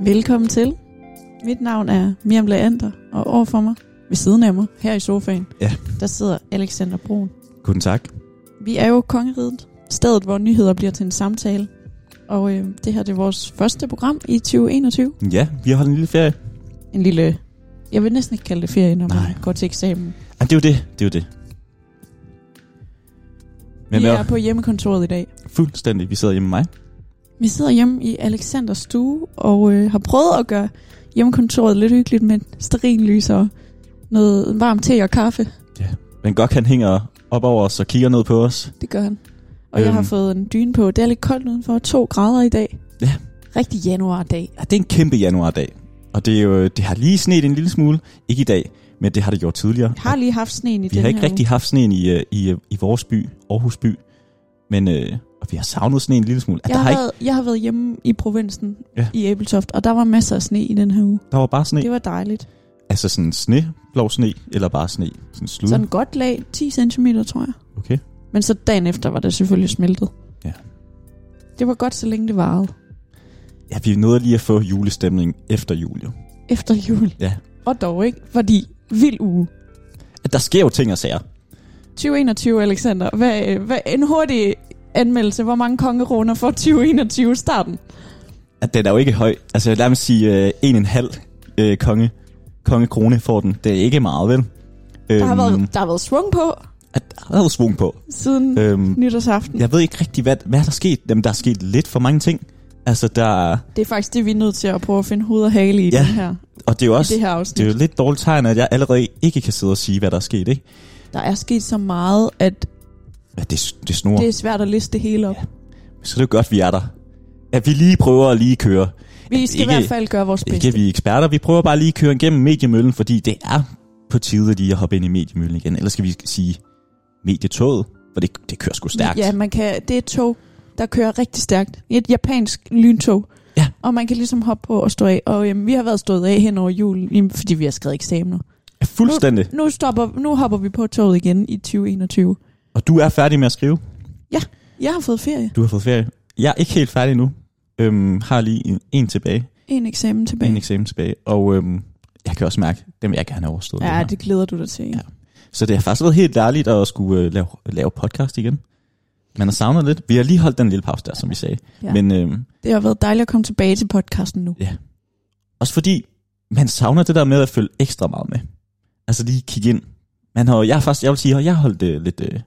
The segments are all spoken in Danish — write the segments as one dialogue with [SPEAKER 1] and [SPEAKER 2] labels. [SPEAKER 1] Velkommen til. Mit navn er Miriam Leander, og overfor mig, ved siden af mig, her i sofaen,
[SPEAKER 2] Ja.
[SPEAKER 1] der sidder Alexander Brun.
[SPEAKER 2] Guten tak.
[SPEAKER 1] Vi er jo Kongeriget, stedet hvor nyheder bliver til en samtale. Og øh, det her det er vores første program i 2021.
[SPEAKER 2] Ja, vi har holdt en lille ferie.
[SPEAKER 1] En lille, jeg vil næsten ikke kalde det ferie, når man
[SPEAKER 2] Nej.
[SPEAKER 1] går til eksamen.
[SPEAKER 2] Ah, det er jo det, det er jo det. Men
[SPEAKER 1] vi
[SPEAKER 2] vi
[SPEAKER 1] er på hjemmekontoret i dag.
[SPEAKER 2] fuldstændig, vi sidder hjemme med mig.
[SPEAKER 1] Vi sidder hjemme i Alexanders stue og øh, har prøvet at gøre hjemmekontoret lidt hyggeligt med sterinlys og noget varmt te og kaffe.
[SPEAKER 2] Men godt han hænger op over os og kigger ned på os.
[SPEAKER 1] Det gør han. Og øhm. jeg har
[SPEAKER 2] Øhm.
[SPEAKER 1] fået en dyne på. Det er lidt koldt udenfor. To grader i dag.
[SPEAKER 2] Ja.
[SPEAKER 1] Rigtig januardag.
[SPEAKER 2] Ja, det er en kæmpe januardag. Og det, er jo, det har lige sneet en lille smule. Ikke i dag, men det har det gjort tidligere.
[SPEAKER 1] Jeg har lige haft sneen i
[SPEAKER 2] vi
[SPEAKER 1] den
[SPEAKER 2] har ikke
[SPEAKER 1] her
[SPEAKER 2] rigtig haft sneen i, øh, i, øh, i vores by, Aarhus by. Men øh, og vi har savnet sneen en lille smule. Ja,
[SPEAKER 1] uge. Jeg har,
[SPEAKER 2] der, har ikke,
[SPEAKER 1] været, jeg har været hjemme i provinsen ja.
[SPEAKER 2] Ja.
[SPEAKER 1] i Æbeltoft, og der var masser af sne i den her uge.
[SPEAKER 2] der var bare sne.
[SPEAKER 1] Det var dejligt.
[SPEAKER 2] Altså sådan sne, blå sne, eller bare sne. Sådan slud.
[SPEAKER 1] Sådan godt lag, 10 cm tror jeg.
[SPEAKER 2] Okay.
[SPEAKER 1] Men så dagen efter var det selvfølgelig smeltet.
[SPEAKER 2] Ja.
[SPEAKER 1] Det var godt, så længe det varede.
[SPEAKER 2] Ja, vi nåede lige at få julestemning efter jul, jo.
[SPEAKER 1] Efter jul.
[SPEAKER 2] Ja.
[SPEAKER 1] Og dog ikke, fordi vild uge.
[SPEAKER 2] at der sker jo ting og sager.
[SPEAKER 1] 2021, Alexander. Hvad, øh, hvad, en hurtig anmeldelse. Hvor mange kongeroner får 2021 starten?
[SPEAKER 2] At den er jo ikke høj. Altså lad mig sige øh, en og en halv øh, konge, kongekrone får den. Det er ikke meget, vel? Øhm,
[SPEAKER 1] Der har, været, der har været svung på
[SPEAKER 2] At, der har været svung på.
[SPEAKER 1] siden øh.
[SPEAKER 2] Øhm,
[SPEAKER 1] nytårsaften. Ja.
[SPEAKER 2] jeg ved ikke rigtig, hvad, hvad er der sket. Jamen, der er sket lidt for mange ting. Altså, der er-
[SPEAKER 1] Det er faktisk det, vi er nødt til at prøve at finde hoved og hale i, ja.
[SPEAKER 2] Ja.
[SPEAKER 1] den her,
[SPEAKER 2] Og det er jo
[SPEAKER 1] i
[SPEAKER 2] også...
[SPEAKER 1] det her
[SPEAKER 2] Det
[SPEAKER 1] afsnit.
[SPEAKER 2] er jo lidt dårligt tegn, at jeg allerede ikke kan sidde og sige, hvad der er sket, ikke?
[SPEAKER 1] Der er sket så meget, at
[SPEAKER 2] Ja, det, det snor.
[SPEAKER 1] det
[SPEAKER 2] Det...
[SPEAKER 1] er svært at liste det hele op. Ja.
[SPEAKER 2] Så det er jo godt, vi er der. At vi lige prøver at lige køre.
[SPEAKER 1] Vi skal ikke,
[SPEAKER 2] Ikke-
[SPEAKER 1] i hvert fald gøre vores bedste.
[SPEAKER 2] Ikke at vi er eksperter, vi prøver bare lige at køre igennem mediemøllen, fordi det er på tide lige at hoppe ind i mediemøllen igen. Ellers skal vi sige medietoget, for det, det kører sgu stærkt.
[SPEAKER 1] Ja, man kan, det er et tog, der kører rigtig stærkt. Et japansk lyntog.
[SPEAKER 2] Ja.
[SPEAKER 1] Og man kan ligesom hoppe på og stå af. Og øhm, vi har været stået af hen over julen, jamen, fordi vi har skrevet eksamener.
[SPEAKER 2] Ja, Fuldstændig.
[SPEAKER 1] Nu, stopper, nu hopper vi på toget igen i 2021.
[SPEAKER 2] Og du er færdig med at skrive.
[SPEAKER 1] Jeg har fået ferie.
[SPEAKER 2] Du har fået ferie. Jeg er ikke helt færdig nu. Øhm, har lige en, en tilbage.
[SPEAKER 1] En eksamen tilbage.
[SPEAKER 2] En eksamen tilbage. Og øhm, jeg kan også mærke, den vil jeg gerne have overstået. den
[SPEAKER 1] ja,
[SPEAKER 2] her.
[SPEAKER 1] det glæder du dig til. Ja.
[SPEAKER 2] Ja. Så det har faktisk været helt dejligt at skulle øh, lave, lave podcast igen. Man har savnet lidt. Vi har lige holdt den lille pause der, som vi sagde.
[SPEAKER 1] Ja.
[SPEAKER 2] Ja. Men øhm,
[SPEAKER 1] Det har været dejligt at komme tilbage til podcasten nu.
[SPEAKER 2] Også fordi man savner det der med at følge ekstra meget med. Altså lige kigge ind. Man har, jo- jeg, har faktisk, jeg vil sige, at jeg har holdt det lidt... Øh,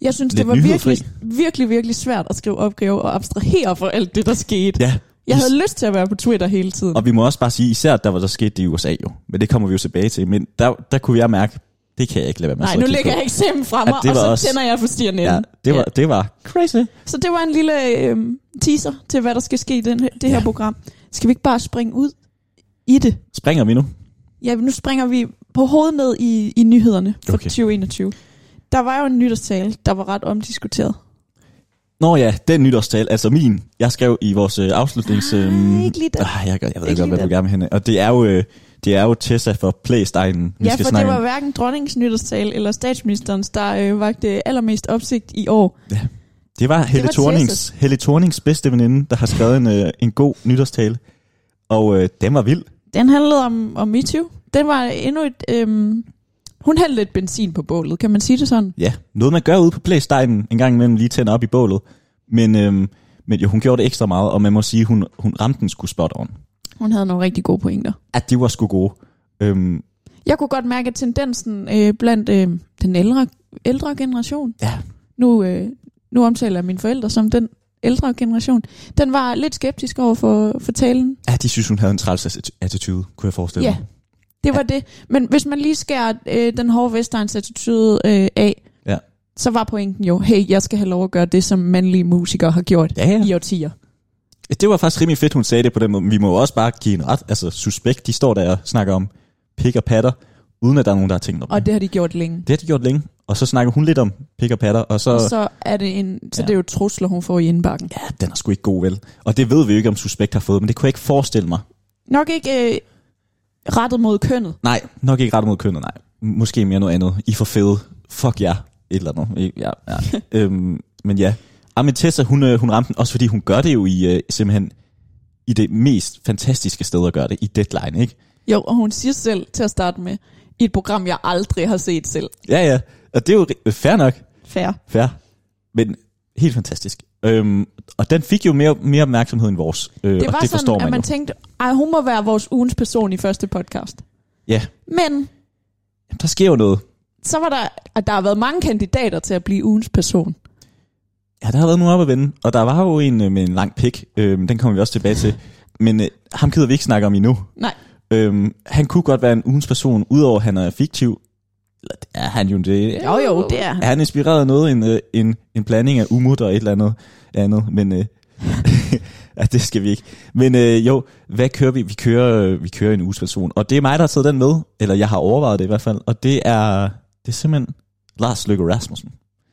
[SPEAKER 1] Jeg synes, det
[SPEAKER 2] Lidt
[SPEAKER 1] var
[SPEAKER 2] nyhedsrig.
[SPEAKER 1] virkelig, virkelig, virkelig svært at skrive opgave og abstrahere for alt det, der skete.
[SPEAKER 2] ja.
[SPEAKER 1] Jeg havde lyst til at være på Twitter hele tiden.
[SPEAKER 2] Og vi må også bare sige, især der var der skete det i USA jo. Men det kommer vi jo tilbage til. Men der, der kunne jeg mærke, det kan jeg ikke lade være med. at
[SPEAKER 1] Nej,
[SPEAKER 2] sidde
[SPEAKER 1] nu
[SPEAKER 2] og kigge
[SPEAKER 1] lægger
[SPEAKER 2] på.
[SPEAKER 1] jeg eksamen frem,
[SPEAKER 2] Ja,
[SPEAKER 1] og
[SPEAKER 2] det var
[SPEAKER 1] så
[SPEAKER 2] også-
[SPEAKER 1] tænder jeg for CNN. Ja,
[SPEAKER 2] Ja, det var, det var crazy.
[SPEAKER 1] Så det var en lille øh, teaser til, hvad der skal ske i den, det her
[SPEAKER 2] Ja.
[SPEAKER 1] program. Skal vi ikke bare springe ud i det?
[SPEAKER 2] Springer vi nu?
[SPEAKER 1] Ja, nu springer vi på hovedet ned i, i nyhederne for okay.
[SPEAKER 2] Okay.
[SPEAKER 1] 2021. Der var jo en nytårstale, der var ret omdiskuteret.
[SPEAKER 2] Nå ja, den nytårstal, altså min, jeg skrev i vores øh, afslutnings...
[SPEAKER 1] Nej,
[SPEAKER 2] øhm,
[SPEAKER 1] ikke lige den.
[SPEAKER 2] Øh, jeg, gør- jeg ved
[SPEAKER 1] Ikke
[SPEAKER 2] ikke,
[SPEAKER 1] lige
[SPEAKER 2] godt, hvad du
[SPEAKER 1] den.
[SPEAKER 2] gerne vil hen. ad. Og det er jo, øh, det er jo Tessa for Playstegnen, vi
[SPEAKER 1] ja,
[SPEAKER 2] skal
[SPEAKER 1] for det
[SPEAKER 2] snakke
[SPEAKER 1] var
[SPEAKER 2] om.
[SPEAKER 1] hverken dronningens nytårstale eller statsministerens, der øh, vagte allermest opsigt i år.
[SPEAKER 2] Det var Helle,
[SPEAKER 1] var
[SPEAKER 2] det Thornings, Helle Thornings bedste veninde, der har skrevet en, øh, en god nytårstale. Og øh, den var vild.
[SPEAKER 1] Den handlede om, om MeToo. Den var endnu et... Øhm, hun hældte lidt benzin på bålet, kan man sige det sådan?
[SPEAKER 2] Ja, noget man gør ude på Playstation en gang imellem, lige tænder op i bålet. Men, øhm, men jo, hun gjorde det ekstra meget, og man må sige, hun, hun ramte den sgu spot on.
[SPEAKER 1] Hun havde nogle rigtig gode pointer.
[SPEAKER 2] At de var sgu gode. Øhm,
[SPEAKER 1] Jeg kunne godt mærke, at tendensen øh, blandt øh, den ældre, ældre generation,
[SPEAKER 2] ja,
[SPEAKER 1] nu, øh, nu omtaler jeg mine forældre som den ældre generation, den var lidt skeptisk over for, for talen.
[SPEAKER 2] ja, de synes, hun havde en træls atti- attitude, kunne jeg forestille
[SPEAKER 1] Ja,
[SPEAKER 2] mig.
[SPEAKER 1] det var det. Men hvis man lige skærer øh, den hårde Vestegns attitude øh, af,
[SPEAKER 2] Ja.
[SPEAKER 1] så var pointen jo, hey, jeg skal have lov at gøre det, som mandlige musikere har gjort
[SPEAKER 2] Ja, ja.
[SPEAKER 1] i årtier.
[SPEAKER 2] Det var faktisk rimelig fedt, hun sagde det på den måde. Men Vi må jo også bare give en ret. Altså, suspekt, de står der og snakker om pik og patter, uden at der er nogen, der har tænkt om
[SPEAKER 1] Og det har de gjort længe.
[SPEAKER 2] Det har de gjort længe. Og så snakker hun lidt om pik og patter, og så...
[SPEAKER 1] Og så er det, en, så
[SPEAKER 2] Ja.
[SPEAKER 1] det er jo trusler, hun får i indbakken.
[SPEAKER 2] Ja, den er sgu ikke god, vel? Og det ved vi jo ikke, om suspekt har fået, men det kunne jeg ikke forestille mig.
[SPEAKER 1] Nok ikke øh, rettet mod kønnet.
[SPEAKER 2] Nej, nok ikke rettet mod kønnet, nej. Måske mere noget andet. I er for fede. Fuck jer. Et eller andet. I- Ja, ja. øhm, men ja. Ah, men Tessa, hun, øh, hun ramte den, også fordi hun gør det jo i øh, simpelthen i det mest fantastiske sted at gøre det, i Deadline, ikke?
[SPEAKER 1] Jo, og hun siger selv til at starte med, i et program, jeg aldrig har set selv.
[SPEAKER 2] Ja, ja, og det er jo ri- øh, fair nok,
[SPEAKER 1] Fair.
[SPEAKER 2] fair, men helt fantastisk. Øhm, og den fik jo mere, mere opmærksomhed end vores, øh,
[SPEAKER 1] Det
[SPEAKER 2] og
[SPEAKER 1] var
[SPEAKER 2] det
[SPEAKER 1] sådan,
[SPEAKER 2] forstår
[SPEAKER 1] at
[SPEAKER 2] man,
[SPEAKER 1] man
[SPEAKER 2] jo.
[SPEAKER 1] tænkte, ej, hun må være vores ugens person i første podcast.
[SPEAKER 2] Ja,
[SPEAKER 1] Men
[SPEAKER 2] Jamen, der sker jo noget.
[SPEAKER 1] så var der, at der har været mange kandidater til at blive ugens person.
[SPEAKER 2] Ja, der har været nogen op at vende, og der var jo en øh, med en lang pik, øhm, den kommer vi også tilbage til, men øh, ham gider vi ikke snakke om endnu.
[SPEAKER 1] Nej.
[SPEAKER 2] Øhm, han kunne godt være en ugens person, udover at han er fiktiv. Eller det er han jo det.
[SPEAKER 1] Jo, jo, det er
[SPEAKER 2] Er
[SPEAKER 1] han.
[SPEAKER 2] han inspireret af noget, en, øh, en, en blanding af umut og et eller andet andet, men øh, ja, det skal vi ikke. Men øh, jo, hvad kører vi? Vi kører, øh, vi kører en uges person, og det er mig, der har taget den med, eller jeg har overvejet det i hvert fald, og det er, det er simpelthen Lars Løkke Rasmussen.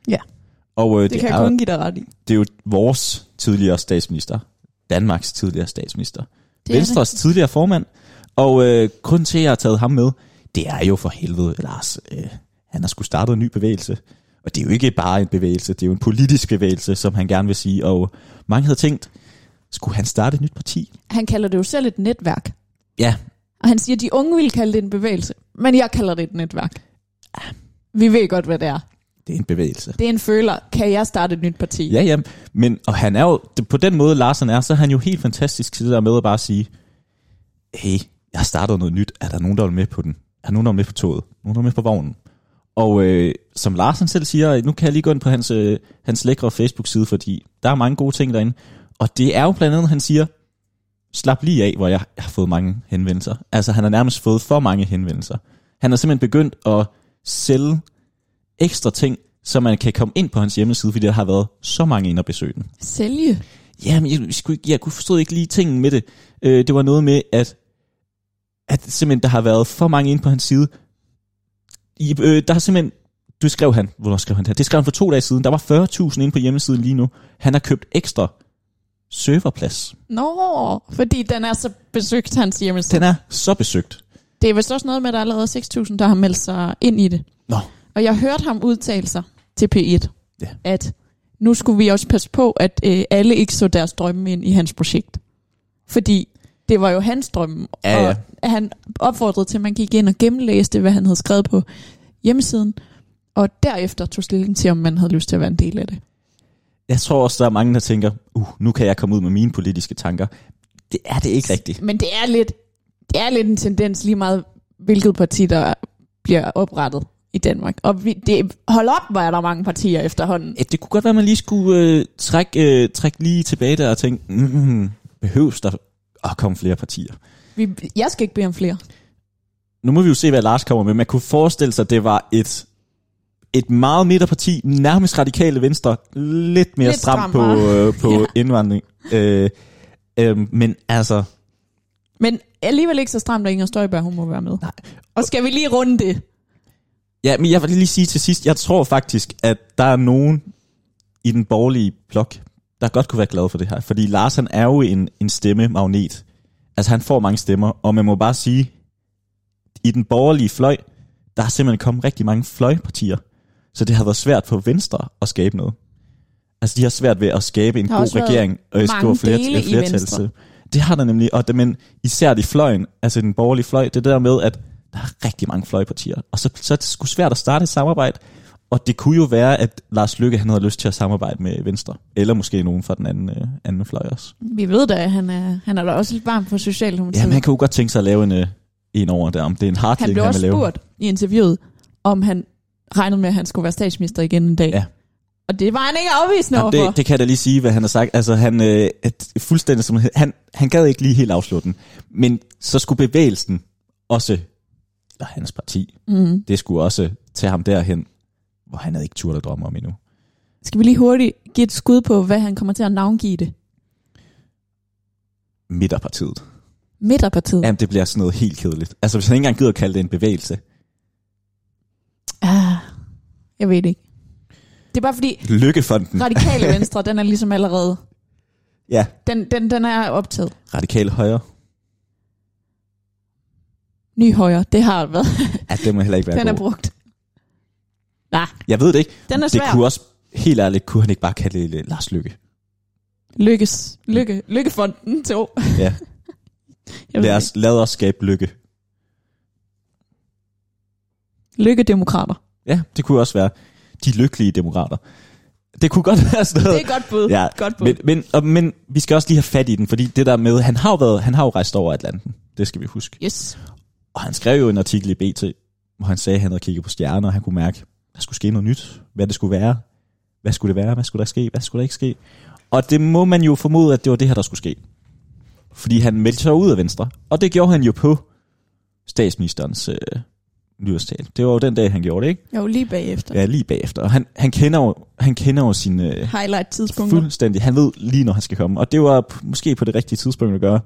[SPEAKER 1] Ja.
[SPEAKER 2] Og øh, det,
[SPEAKER 1] Det
[SPEAKER 2] det,
[SPEAKER 1] kan
[SPEAKER 2] er,
[SPEAKER 1] jeg kun give dig ret i.
[SPEAKER 2] det er jo vores tidligere statsminister, Danmarks tidligere statsminister,
[SPEAKER 1] Det
[SPEAKER 2] det Venstres det. tidligere formand. Og øh, grunden til, at jeg har taget ham med, det er jo for helvede, Lars, øh, han har skulle starte en ny bevægelse. Og det er jo ikke bare en bevægelse, det er jo en politisk bevægelse, som han gerne vil sige. Og mange havde tænkt, skulle han starte et nyt parti?
[SPEAKER 1] Han kalder det jo selv et netværk.
[SPEAKER 2] Ja,
[SPEAKER 1] Og han siger, at de unge ville kalde det en bevægelse, men jeg kalder det et netværk. Vi ved godt, hvad det er.
[SPEAKER 2] det er en bevægelse.
[SPEAKER 1] Det er en føler. Kan jeg starte et nyt parti?
[SPEAKER 2] Ja, ja, men og han er jo, det- på den måde Larsen er, så er han jo helt fantastisk til det der med at bare sige, hey, jeg har startet noget nyt, er der nogen, der vil med på den? Er der nogen, der vil med på toget? Nogen, der vil med på vognen? Og øh, som Larsen selv siger, nu kan jeg lige gå ind på hans, øh, hans lækre Facebook-side, fordi der er mange gode ting derinde. Og det er jo blandt andet, han siger, slap lige af, hvor jeg har fået mange henvendelser. Altså han har nærmest fået for mange henvendelser. Han har simpelthen begyndt at sælge ekstra ting, så man kan komme ind på hans hjemmeside, fordi der har været så mange ind og besøge den.
[SPEAKER 1] Sælge.
[SPEAKER 2] Jamen, jeg, jeg, skulle, ikke- jeg kunne forstå ikke lige tingen med det. Øh, det var noget med, at, at simpelthen der har været for mange ind på hans side. I, øh, der har simpelthen, du skrev han, hvornår skrev han det her? Det skrev han for to dage siden. Der var 40.000 inde på hjemmesiden lige nu. Han har købt ekstra serverplads.
[SPEAKER 1] Nå, fordi den er så besøgt, hans hjemmeside.
[SPEAKER 2] Den er så besøgt.
[SPEAKER 1] Det er vist også noget med, at der er allerede 6.000, der har meldt sig ind i det.
[SPEAKER 2] Nå.
[SPEAKER 1] Og jeg hørte ham udtale sig til P1,
[SPEAKER 2] Ja.
[SPEAKER 1] at nu skulle vi også passe på, at øh, alle ikke så deres drømme ind i hans projekt. Fordi det var jo hans drømme,
[SPEAKER 2] Ja, ja.
[SPEAKER 1] og han opfordrede til, at man gik ind og gennemlæste, hvad han havde skrevet på hjemmesiden, og derefter tog stilling til, om man havde lyst til at være en del af det.
[SPEAKER 2] Jeg tror også, der er mange, der tænker, uh, nu kan jeg komme ud med mine politiske tanker. Det er det ikke rigtigt.
[SPEAKER 1] Men det er lidt, det er lidt en tendens lige meget, hvilket parti, der bliver oprettet i Danmark. Og vi, det, hold op, hvor er der mange partier efterhånden.
[SPEAKER 2] Ja, det kunne godt være, at man lige skulle øh, trække, øh, trække lige tilbage der og tænke, mm, behøves der at komme flere partier?
[SPEAKER 1] Vi, jeg skal ikke bede om flere.
[SPEAKER 2] Nu må vi jo se, hvad Lars kommer med. Man kunne forestille sig, at det var et, et meget midterparti, nærmest radikale venstre, lidt mere
[SPEAKER 1] Lidt
[SPEAKER 2] lidt stramt på,
[SPEAKER 1] strammere.
[SPEAKER 2] øh, på ja. indvandring. Øh, øh, men altså,
[SPEAKER 1] Men alligevel ikke så stramt, at Inger Støjberg, hun må være med. Nej. Og skal vi lige runde det?
[SPEAKER 2] ja, men jeg vil lige sige til sidst, jeg tror faktisk, at der er nogen i den borgerlige blok, der godt kunne være glad for det her. Fordi Lars, han er jo en, en stemmemagnet. Altså, han får mange stemmer, og man må bare sige, i den borgerlige fløj, der er simpelthen kommet rigtig mange fløjpartier. Så det har været svært for Venstre at skabe noget. Altså, de har svært ved at skabe en
[SPEAKER 1] Der har også
[SPEAKER 2] god
[SPEAKER 1] været
[SPEAKER 2] regering og
[SPEAKER 1] mange
[SPEAKER 2] skrive flere,
[SPEAKER 1] dele i
[SPEAKER 2] flertal
[SPEAKER 1] Venstre.
[SPEAKER 2] til. Det har der nemlig, og det, men især de fløjen, altså den borgerlige fløj, det er det der med, at der er rigtig mange fløjpartier. Og så, så er det sgu svært at starte et samarbejde, og det kunne jo være, at Lars Lykke han havde lyst til at samarbejde med Venstre, eller måske nogen fra den anden, øh, anden fløj også.
[SPEAKER 1] Vi ved da, at han er, han er da også lidt varm for Socialdemokratiet.
[SPEAKER 2] Ja, man kan jo godt tænke sig at lave en, øh, en over der, om det er en
[SPEAKER 1] han
[SPEAKER 2] hardling,
[SPEAKER 1] blev
[SPEAKER 2] han,
[SPEAKER 1] også
[SPEAKER 2] vil lave.
[SPEAKER 1] spurgt i interviewet, om han regnede med, at han skulle være statsminister igen en dag.
[SPEAKER 2] Ja.
[SPEAKER 1] Og det var han ikke afvisende
[SPEAKER 2] Jamen,
[SPEAKER 1] overfor.
[SPEAKER 2] det, det kan jeg da lige sige, hvad han har sagt. Altså, han, øh, at fuldstændig som, han, han gad ikke lige helt afslutte den. Men så skulle bevægelsen også, eller hans parti,
[SPEAKER 1] Mm.
[SPEAKER 2] det skulle også tage ham derhen, hvor han havde ikke turde at drømme om endnu.
[SPEAKER 1] Skal vi lige hurtigt give et skud på, hvad han kommer til at navngive det?
[SPEAKER 2] Midterpartiet.
[SPEAKER 1] Midterpartiet. Ja.
[SPEAKER 2] Jamen, det bliver sådan noget helt kedeligt. Altså, hvis han ikke engang gider at kalde det en bevægelse.
[SPEAKER 1] Ah, jeg ved det ikke. Det er bare fordi,
[SPEAKER 2] Lykkefonden.
[SPEAKER 1] radikale venstre, den er ligesom allerede,
[SPEAKER 2] Ja,
[SPEAKER 1] den, den, den er optaget.
[SPEAKER 2] radikale højre.
[SPEAKER 1] Ny højre, det har været,
[SPEAKER 2] Ja, det må heller ikke være
[SPEAKER 1] den er
[SPEAKER 2] god.
[SPEAKER 1] brugt. Nej,
[SPEAKER 2] Jeg ved det ikke.
[SPEAKER 1] den er
[SPEAKER 2] Det
[SPEAKER 1] svær.
[SPEAKER 2] øh, kunne også, helt ærligt, kunne han ikke bare kalde det Lars Lykke.
[SPEAKER 1] Lykkes. Lykke. Lykkefonden 2.
[SPEAKER 2] Ja.
[SPEAKER 1] Jeg ved
[SPEAKER 2] Lad
[SPEAKER 1] det
[SPEAKER 2] os, lad os skabe lykke.
[SPEAKER 1] ikke. Lykkedemokrater.
[SPEAKER 2] Ja, det kunne også være de lykkelige demokrater. Det kunne godt være sådan
[SPEAKER 1] Det er
[SPEAKER 2] noget.
[SPEAKER 1] et godt bud.
[SPEAKER 2] Ja,
[SPEAKER 1] godt bud.
[SPEAKER 2] Men, men, og, men vi skal også lige have fat i den, fordi det der med, han har jo, været, han har jo rejst over Atlanten. Det skal vi huske.
[SPEAKER 1] Yes.
[SPEAKER 2] Og han skrev jo en artikel i BT, hvor han sagde, at han havde kigget på stjerner, og han kunne mærke, at der skulle ske noget nyt. Hvad det skulle være. Hvad skulle det være? Hvad skulle der ske? Hvad skulle der ikke ske? Og det må man jo formode, at det var det her, der skulle ske. Fordi han meldte sig ud af Venstre. Og det gjorde han jo på statsministerens øh, nyårstal. Det var jo den dag, han gjorde det, ikke?
[SPEAKER 1] Jo, lige bagefter.
[SPEAKER 2] Ja, lige bagefter. Og han, han, kender, jo, han kender jo sine øh,
[SPEAKER 1] Highlight tidspunkter.
[SPEAKER 2] fuldstændig. Han ved lige, når han skal komme. Og det var p- måske på det rigtige tidspunkt at gøre.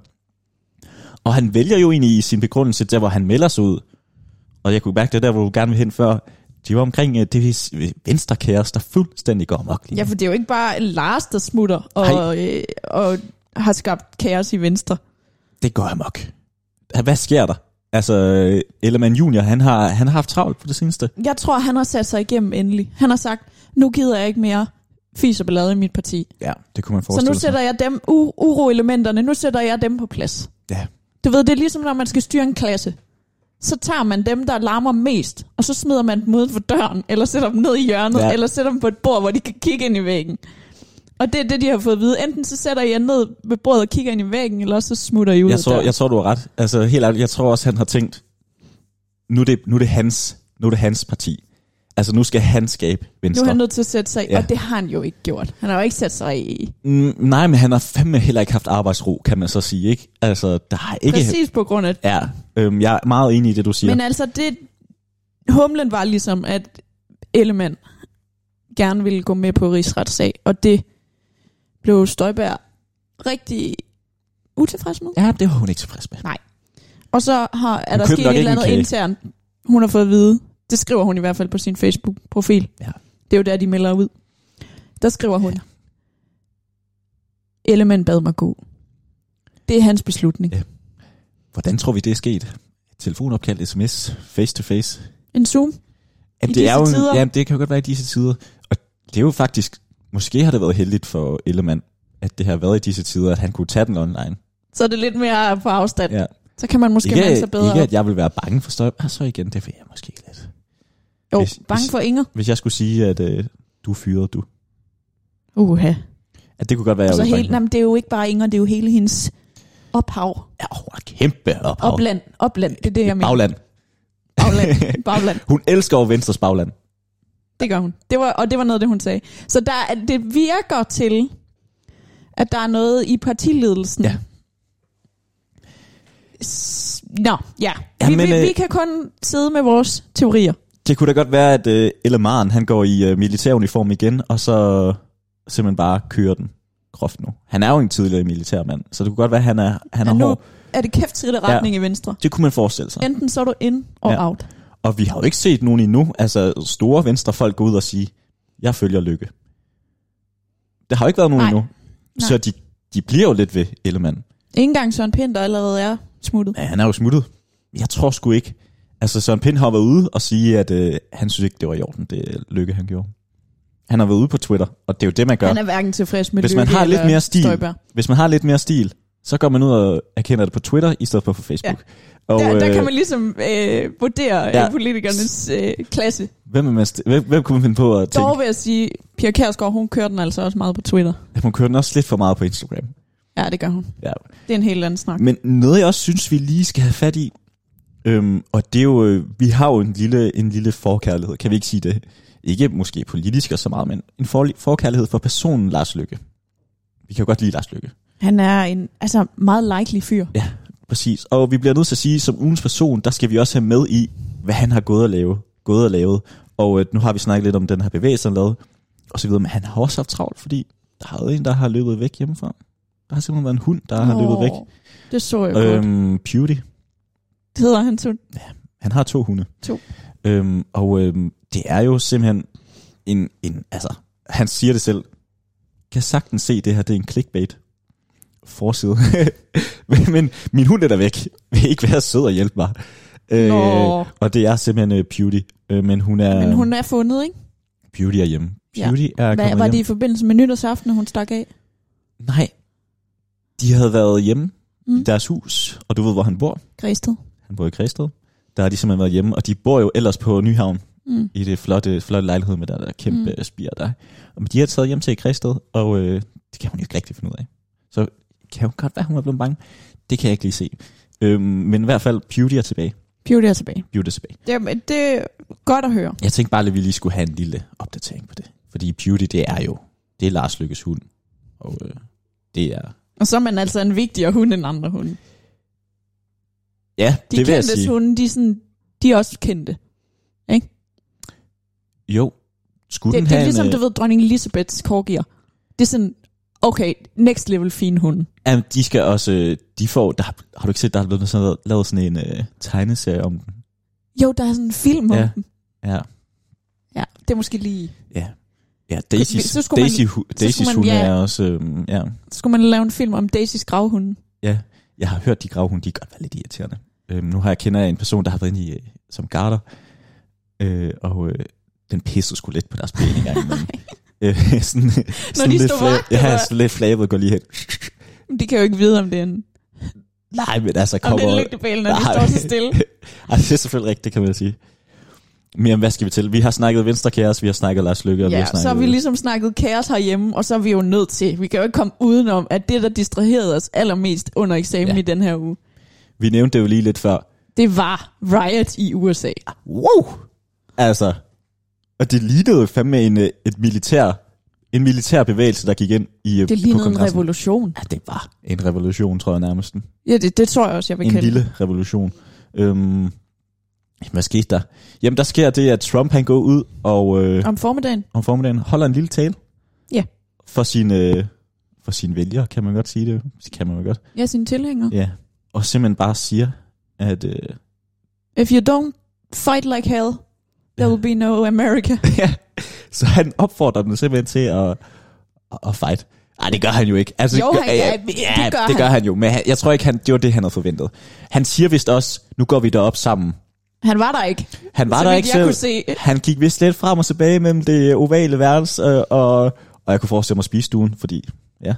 [SPEAKER 2] Og han vælger jo egentlig i sin begrundelse, der hvor han melder sig ud. Og jeg kunne mærke, det var der, hvor du gerne ville hen før. Det var omkring øh, det venstre kaos, der fuldstændig går amok. lige
[SPEAKER 1] Ja,
[SPEAKER 2] nu.
[SPEAKER 1] for det er jo ikke bare Lars, der smutter og, øh, og har skabt kaos i Venstre.
[SPEAKER 2] Det går amok. Ja, Hvad sker der? Altså, øh, Ellemann Junior, han har, han har haft travlt på det seneste.
[SPEAKER 1] Jeg tror, han har sat sig igennem endelig. Han har sagt, nu gider jeg ikke mere fis og ballade i mit parti.
[SPEAKER 2] Ja, det kunne man
[SPEAKER 1] Så
[SPEAKER 2] forestille
[SPEAKER 1] nu sætter jeg dem, u- uroelementerne, nu sætter jeg dem på plads.
[SPEAKER 2] sig. Ja,
[SPEAKER 1] Du ved, det er ligesom, når man skal styre en klasse. Så tager man dem, der larmer mest, og så smider man dem uden for døren, eller sætter dem ned i hjørnet,
[SPEAKER 2] Ja.
[SPEAKER 1] ja. eller sætter dem på et bord, hvor de kan kigge ind i væggen. Og det er det, de har fået at vide. Enten så sætter jeg ned ved bordet og kigger ind i væggen, eller også så smutter I ud
[SPEAKER 2] jeg
[SPEAKER 1] af
[SPEAKER 2] tror,
[SPEAKER 1] døren.
[SPEAKER 2] jeg tror, du har ret. Altså, helt ærligt, jeg tror også, han har tænkt, nu er det, nu er det, hans, nu er det hans parti. Altså, nu skal han skabe
[SPEAKER 1] Nu er
[SPEAKER 2] Venstre.
[SPEAKER 1] han nødt til at sætte sig i,
[SPEAKER 2] Ja.
[SPEAKER 1] ja. og det har han jo ikke gjort. Han har jo ikke sat sig i.
[SPEAKER 2] Mm, nej, men han har fandme heller ikke haft arbejdsro, kan man så sige, ikke? Altså, der har ikke...
[SPEAKER 1] Præcis på grund af
[SPEAKER 2] Ja, øhm, jeg er meget enig i det, du siger.
[SPEAKER 1] Men
[SPEAKER 2] Men,
[SPEAKER 1] altså, det, humlen var ligesom, at Ellemann gerne ville gå med på rigsretssag, og det blev Støjberg rigtig utilfreds med.
[SPEAKER 2] ja, det var hun ikke tilfreds med.
[SPEAKER 1] Og så har, er
[SPEAKER 2] Hun
[SPEAKER 1] der
[SPEAKER 2] købte
[SPEAKER 1] sket
[SPEAKER 2] nok
[SPEAKER 1] et
[SPEAKER 2] ikke
[SPEAKER 1] eller
[SPEAKER 2] en
[SPEAKER 1] andet
[SPEAKER 2] kage.
[SPEAKER 1] internt, hun har fået at vide. Det skriver hun i hvert fald på sin Facebook-profil.
[SPEAKER 2] Ja.
[SPEAKER 1] Det er jo der, de melder ud. Der skriver hun, Ellemann bad mig gå. Det er hans beslutning.
[SPEAKER 2] Ja. Hvordan tror vi, det er sket? Telefonopkald, sms, face-to-face.
[SPEAKER 1] En Zoom.
[SPEAKER 2] Jamen,
[SPEAKER 1] I
[SPEAKER 2] det
[SPEAKER 1] disse
[SPEAKER 2] er jo, en-
[SPEAKER 1] tider?
[SPEAKER 2] Jamen, det kan jo godt være i disse tider. Og det er jo faktisk... Måske har det været heldigt for Ellemann, at det har været i disse tider, at han kunne tage den online.
[SPEAKER 1] Så er det lidt mere på afstand.
[SPEAKER 2] Ja.
[SPEAKER 1] Så kan man måske melde sig bedre
[SPEAKER 2] ikke,
[SPEAKER 1] op.
[SPEAKER 2] at jeg vil være bange for støj. Ah, så igen, det vil jeg måske lidt.
[SPEAKER 1] Jo,
[SPEAKER 2] hvis-
[SPEAKER 1] bange
[SPEAKER 2] hvis-
[SPEAKER 1] for Inger.
[SPEAKER 2] Hvis jeg skulle sige, at øh, du fyrede du.
[SPEAKER 1] Uha.
[SPEAKER 2] At det kunne godt være, at
[SPEAKER 1] Og så
[SPEAKER 2] jeg
[SPEAKER 1] helt, nej, men det er jo ikke bare Inger, det er jo hele hendes ophav.
[SPEAKER 2] Ja, hun er kæmpe ophav.
[SPEAKER 1] Opland, opland, det er det, jeg mener.
[SPEAKER 2] Bagland.
[SPEAKER 1] Bagland. Bagland,
[SPEAKER 2] Hun elsker jo Venstres bagland.
[SPEAKER 1] det gør hun. Det var, og det var noget, af det hun sagde. Så der, er- det virker til, at der er noget i partiledelsen.
[SPEAKER 2] Ja.
[SPEAKER 1] S- Nå, ja.
[SPEAKER 2] Ja,
[SPEAKER 1] Vi,
[SPEAKER 2] men, øh,
[SPEAKER 1] vi, vi kan kun sidde med vores teorier.
[SPEAKER 2] Det kunne da godt være, at øh, Ellemaren, han går i øh, militæruniform igen, og så simpelthen bare kører den groft nu. Han er jo en tidligere militærmand, så det kunne godt være, at han er, han er
[SPEAKER 1] Men nu
[SPEAKER 2] hård.
[SPEAKER 1] er det kæft skridte retning i venstre.
[SPEAKER 2] Det kunne man forestille sig.
[SPEAKER 1] Enten så er du in og
[SPEAKER 2] Ja.
[SPEAKER 1] ja. out.
[SPEAKER 2] Og vi har jo ikke set nogen endnu, altså store venstrefolk gå ud og sige, jeg følger lykke. Der har jo ikke været nogen
[SPEAKER 1] Nej.
[SPEAKER 2] endnu. Så de, de bliver jo lidt ved Ellemann.
[SPEAKER 1] Ingen gang Søren Pind, der allerede er smuttet.
[SPEAKER 2] Ja, han er jo smuttet. Jeg tror sgu ikke. Altså, Søren Pind har været ude og sige, at øh, han synes ikke, det var i orden, det lykke, han gjorde. Han har været ude på Twitter, og det er jo det, man gør.
[SPEAKER 1] Han er hverken tilfreds med
[SPEAKER 2] Hvis man
[SPEAKER 1] Løkke
[SPEAKER 2] har lidt
[SPEAKER 1] eller
[SPEAKER 2] mere stil,
[SPEAKER 1] Støjberg.
[SPEAKER 2] Hvis man har lidt mere stil, så går man ud og erkender det på Twitter, i stedet for på Facebook. Ja. Og
[SPEAKER 1] Der, der
[SPEAKER 2] øh,
[SPEAKER 1] kan man ligesom øh, vurdere
[SPEAKER 2] ja.
[SPEAKER 1] ja. politikernes øh, klasse.
[SPEAKER 2] hvem, er man st- hvem, hvem kunne man finde på at tænke,
[SPEAKER 1] Dog vil jeg sige, Pia Kærsgaard, hun kører den altså også meget på Twitter.
[SPEAKER 2] at man kører den også lidt for meget på Instagram?
[SPEAKER 1] Ja, det gør hun.
[SPEAKER 2] Ja.
[SPEAKER 1] Det er en helt anden snak.
[SPEAKER 2] Men noget, jeg også synes, vi lige skal have fat i, øhm, og det er jo, øh, vi har jo en lille, en lille forkærlighed, kan vi ikke sige det? Ikke måske politisk og så meget, men en for, forkærlighed for personen Lars Lykke. Vi kan jo godt lide Lars Lykke.
[SPEAKER 1] Han er en altså meget likely fyr.
[SPEAKER 2] Ja, præcis. Og vi bliver nødt til at sige, at som ugens person, der skal vi også have med i, hvad han har gået og lavet. Gået og lavet. Og øh, nu har vi snakket lidt om den her bevægelse, han lavede, og så videre. Men han har også haft travlt, fordi der har været en, der har løbet væk hjemmefra. Der har simpelthen været en hund, der har
[SPEAKER 1] Åh,
[SPEAKER 2] løbet væk.
[SPEAKER 1] Det så jeg øhm. godt.
[SPEAKER 2] Øhm, øh, Beauty.
[SPEAKER 1] Det hedder han så.
[SPEAKER 2] Han har to hunde.
[SPEAKER 1] To.
[SPEAKER 2] Øhm, og øhm, det er jo simpelthen en, en, altså, han siger det selv, kan sagtens se det her, det er en clickbait forside. men, men min hund er der væk, vil ikke være sød og hjælpe mig. Øh,
[SPEAKER 1] Nå.
[SPEAKER 2] og det er simpelthen øh, Beauty, øh, men hun er,
[SPEAKER 1] Men hun er fundet, ikke?
[SPEAKER 2] Beauty er hjemme.
[SPEAKER 1] Ja.
[SPEAKER 2] Beauty ja. er
[SPEAKER 1] Hvad,
[SPEAKER 2] kommet
[SPEAKER 1] var det
[SPEAKER 2] hjem.
[SPEAKER 1] i forbindelse med nytårsaften, at hun stak af?
[SPEAKER 2] Nej. De havde været hjemme mm. i
[SPEAKER 1] Mm.
[SPEAKER 2] deres hus, og du ved, hvor han bor.
[SPEAKER 1] Græsted.
[SPEAKER 2] Han bor i Græsted. Der har de simpelthen været hjemme, og de bor jo ellers på Nyhavn
[SPEAKER 1] Mm.
[SPEAKER 2] i det flotte, flotte lejlighed med der, der kæmpe mm. spire der. Og de har taget hjem til Græsted, og øh, det kan hun jo ikke rigtig finde ud af. Så kan jo godt være, hun er blevet bange. Det kan jeg ikke lige se. Øhm, men i hvert fald, Beauty er tilbage.
[SPEAKER 1] Beauty er tilbage.
[SPEAKER 2] Beauty er tilbage.
[SPEAKER 1] Jamen, det er godt at høre.
[SPEAKER 2] Jeg tænkte bare, at vi lige skulle have en lille opdatering på det. Fordi Beauty, det er jo, det er Lars Lykkes hund. Og øh, det er,
[SPEAKER 1] Og så er man altså en vigtigere hund end andre hunde.
[SPEAKER 2] ja,
[SPEAKER 1] De
[SPEAKER 2] det vil jeg
[SPEAKER 1] kendte
[SPEAKER 2] sige.
[SPEAKER 1] hunde, de er, sådan, de er også kendte.
[SPEAKER 2] Jo, skulle
[SPEAKER 1] Det,
[SPEAKER 2] den
[SPEAKER 1] det
[SPEAKER 2] have
[SPEAKER 1] er ligesom,
[SPEAKER 2] en, øh,
[SPEAKER 1] du ved, dronning Elisabeths korgier. Det er sådan, okay, next level fine hunde.
[SPEAKER 2] Jamen, de skal også, øh, de får, der, har du ikke set, der er blevet sådan, lavet sådan en øh, tegneserie om den?
[SPEAKER 1] Jo, der er sådan en film om
[SPEAKER 2] Ja.
[SPEAKER 1] ja. dem.
[SPEAKER 2] Ja,
[SPEAKER 1] Ja, det er måske lige...
[SPEAKER 2] ja. Ja, Daisy,
[SPEAKER 1] Så skulle man-
[SPEAKER 2] Daisy, man, Daisy
[SPEAKER 1] skulle man-
[SPEAKER 2] hunde
[SPEAKER 1] ja.
[SPEAKER 2] er også, øh, ja.
[SPEAKER 1] Så skulle man lave en film om Daisys gravhunde.
[SPEAKER 2] Jeg har hørt, de gravhunde, de kan godt være lidt irriterende. Øhm, nu har jeg kender jeg en person, der har været inde i, øh, som garter, øh, og øh, den pissede skulle lidt på deres ben en gang imellem. Øh, sådan, sådan
[SPEAKER 1] de
[SPEAKER 2] lidt
[SPEAKER 1] stod
[SPEAKER 2] fla-
[SPEAKER 1] vagt,
[SPEAKER 2] Ja,
[SPEAKER 1] eller?
[SPEAKER 2] sådan lidt flabet går lige hen.
[SPEAKER 1] Men de kan jo ikke vide, om det er en,
[SPEAKER 2] Nej, men altså,
[SPEAKER 1] om det
[SPEAKER 2] kommer...
[SPEAKER 1] er en lygtepæl, når de
[SPEAKER 2] Nej.
[SPEAKER 1] står så stille.
[SPEAKER 2] Ej, det er selvfølgelig rigtigt, det kan man sige. Men hvad skal vi til? Vi har snakket Venstre Kæres, vi har snakket Lars Lykke, og vi
[SPEAKER 1] Ja,
[SPEAKER 2] har snakket...
[SPEAKER 1] så har vi ligesom snakket kaos herhjemme, og så er vi jo nødt til, vi kan jo ikke komme udenom, at det, der distraherede os allermest under eksamen
[SPEAKER 2] Ja.
[SPEAKER 1] ja. i den her uge,
[SPEAKER 2] vi nævnte det jo lige lidt før.
[SPEAKER 1] det var riot i USA.
[SPEAKER 2] Wow! Altså, og det lignede jo fandme en, øh, et militær, en militær bevægelse, der gik ind i,
[SPEAKER 1] Det
[SPEAKER 2] øh, på
[SPEAKER 1] lignede en
[SPEAKER 2] kongressen.
[SPEAKER 1] revolution.
[SPEAKER 2] Ja, det var en revolution, tror jeg nærmest. En
[SPEAKER 1] Ja, det, det tror jeg også, jeg vil kalde. det.
[SPEAKER 2] lille revolution. Øhm, hvad skete der? Jamen, der sker det, at Trump han går ud og... Øh,
[SPEAKER 1] Om formiddagen.
[SPEAKER 2] om formiddagen holder en lille tale.
[SPEAKER 1] Ja.
[SPEAKER 2] For sine, øh, for sine vælgere, kan man godt sige det. Det kan man jo godt.
[SPEAKER 1] Ja, sine tilhængere.
[SPEAKER 2] Ja. Og simpelthen bare siger, at... Øh,
[SPEAKER 1] If you don't fight like hell, there will be no America.
[SPEAKER 2] ja. Så han opfordrer dem simpelthen til at, at, at fight. Ej, det gør han jo ikke. Altså,
[SPEAKER 1] Jo,
[SPEAKER 2] det gør,
[SPEAKER 1] han- ja, det
[SPEAKER 2] ja,
[SPEAKER 1] gør
[SPEAKER 2] det
[SPEAKER 1] han.
[SPEAKER 2] gør han jo. Men han, jeg tror ikke, han, det var det, han havde forventet. Han siger vist også, nu går vi derop sammen.
[SPEAKER 1] Han var der ikke.
[SPEAKER 2] Han var
[SPEAKER 1] så
[SPEAKER 2] der
[SPEAKER 1] vidt
[SPEAKER 2] ikke
[SPEAKER 1] jeg
[SPEAKER 2] selv.
[SPEAKER 1] kunne se.
[SPEAKER 2] Han gik vist lidt frem og tilbage mellem det ovale værelse, øh, og, og jeg kunne forestille mig spisestuen, fordi ja,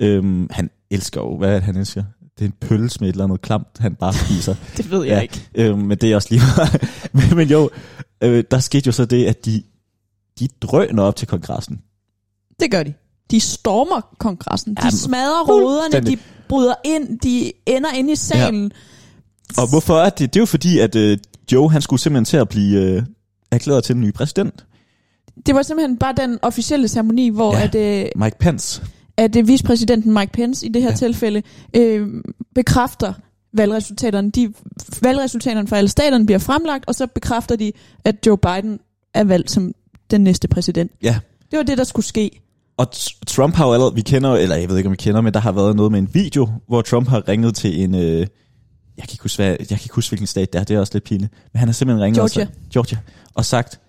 [SPEAKER 2] øhm, han elsker jo, hvad er det, han elsker? Det er en pølse med et eller andet klamt, han bare spiser.
[SPEAKER 1] Det ved jeg
[SPEAKER 2] Ja.
[SPEAKER 1] ja. ikke.
[SPEAKER 2] øhm, men det er også lige meget. men, men jo, øh, der skete jo så det, at de, de drøner op til kongressen.
[SPEAKER 1] Det gør de. De stormer kongressen. De
[SPEAKER 2] Jamen,
[SPEAKER 1] smadrer ruderne. De
[SPEAKER 2] fuldstændig.
[SPEAKER 1] bryder ind. De ender inde i salen.
[SPEAKER 2] Og hvorfor er det? Det er jo fordi, at øh, Joe, han skulle simpelthen til at blive øh, erklæret til den nye præsident,
[SPEAKER 1] Det var simpelthen bare den officielle ceremoni, hvor
[SPEAKER 2] Ja.
[SPEAKER 1] ja. at, øh,
[SPEAKER 2] Mike Pence.
[SPEAKER 1] at øh, vicepræsidenten Mike Pence i det her
[SPEAKER 2] Ja.
[SPEAKER 1] ja. tilfælde øh, bekræfter valgresultaterne. De, valgresultaterne for alle staterne bliver fremlagt, og så bekræfter de, at Joe Biden er valgt som den næste præsident.
[SPEAKER 2] Ja,
[SPEAKER 1] Det var det, der skulle ske.
[SPEAKER 2] Og t- Trump har jo allerede, vi kender, jo- eller jeg ved ikke, om vi kender, men der har været noget med en video, hvor Trump har ringet til en, øh, jeg, kan ikke huske, hvad, jeg kan ikke huske, hvilken stat det er, det er også lidt pinligt, men han har simpelthen ringet Og,
[SPEAKER 1] Georgia.
[SPEAKER 2] sagt, Georgia, og sagt,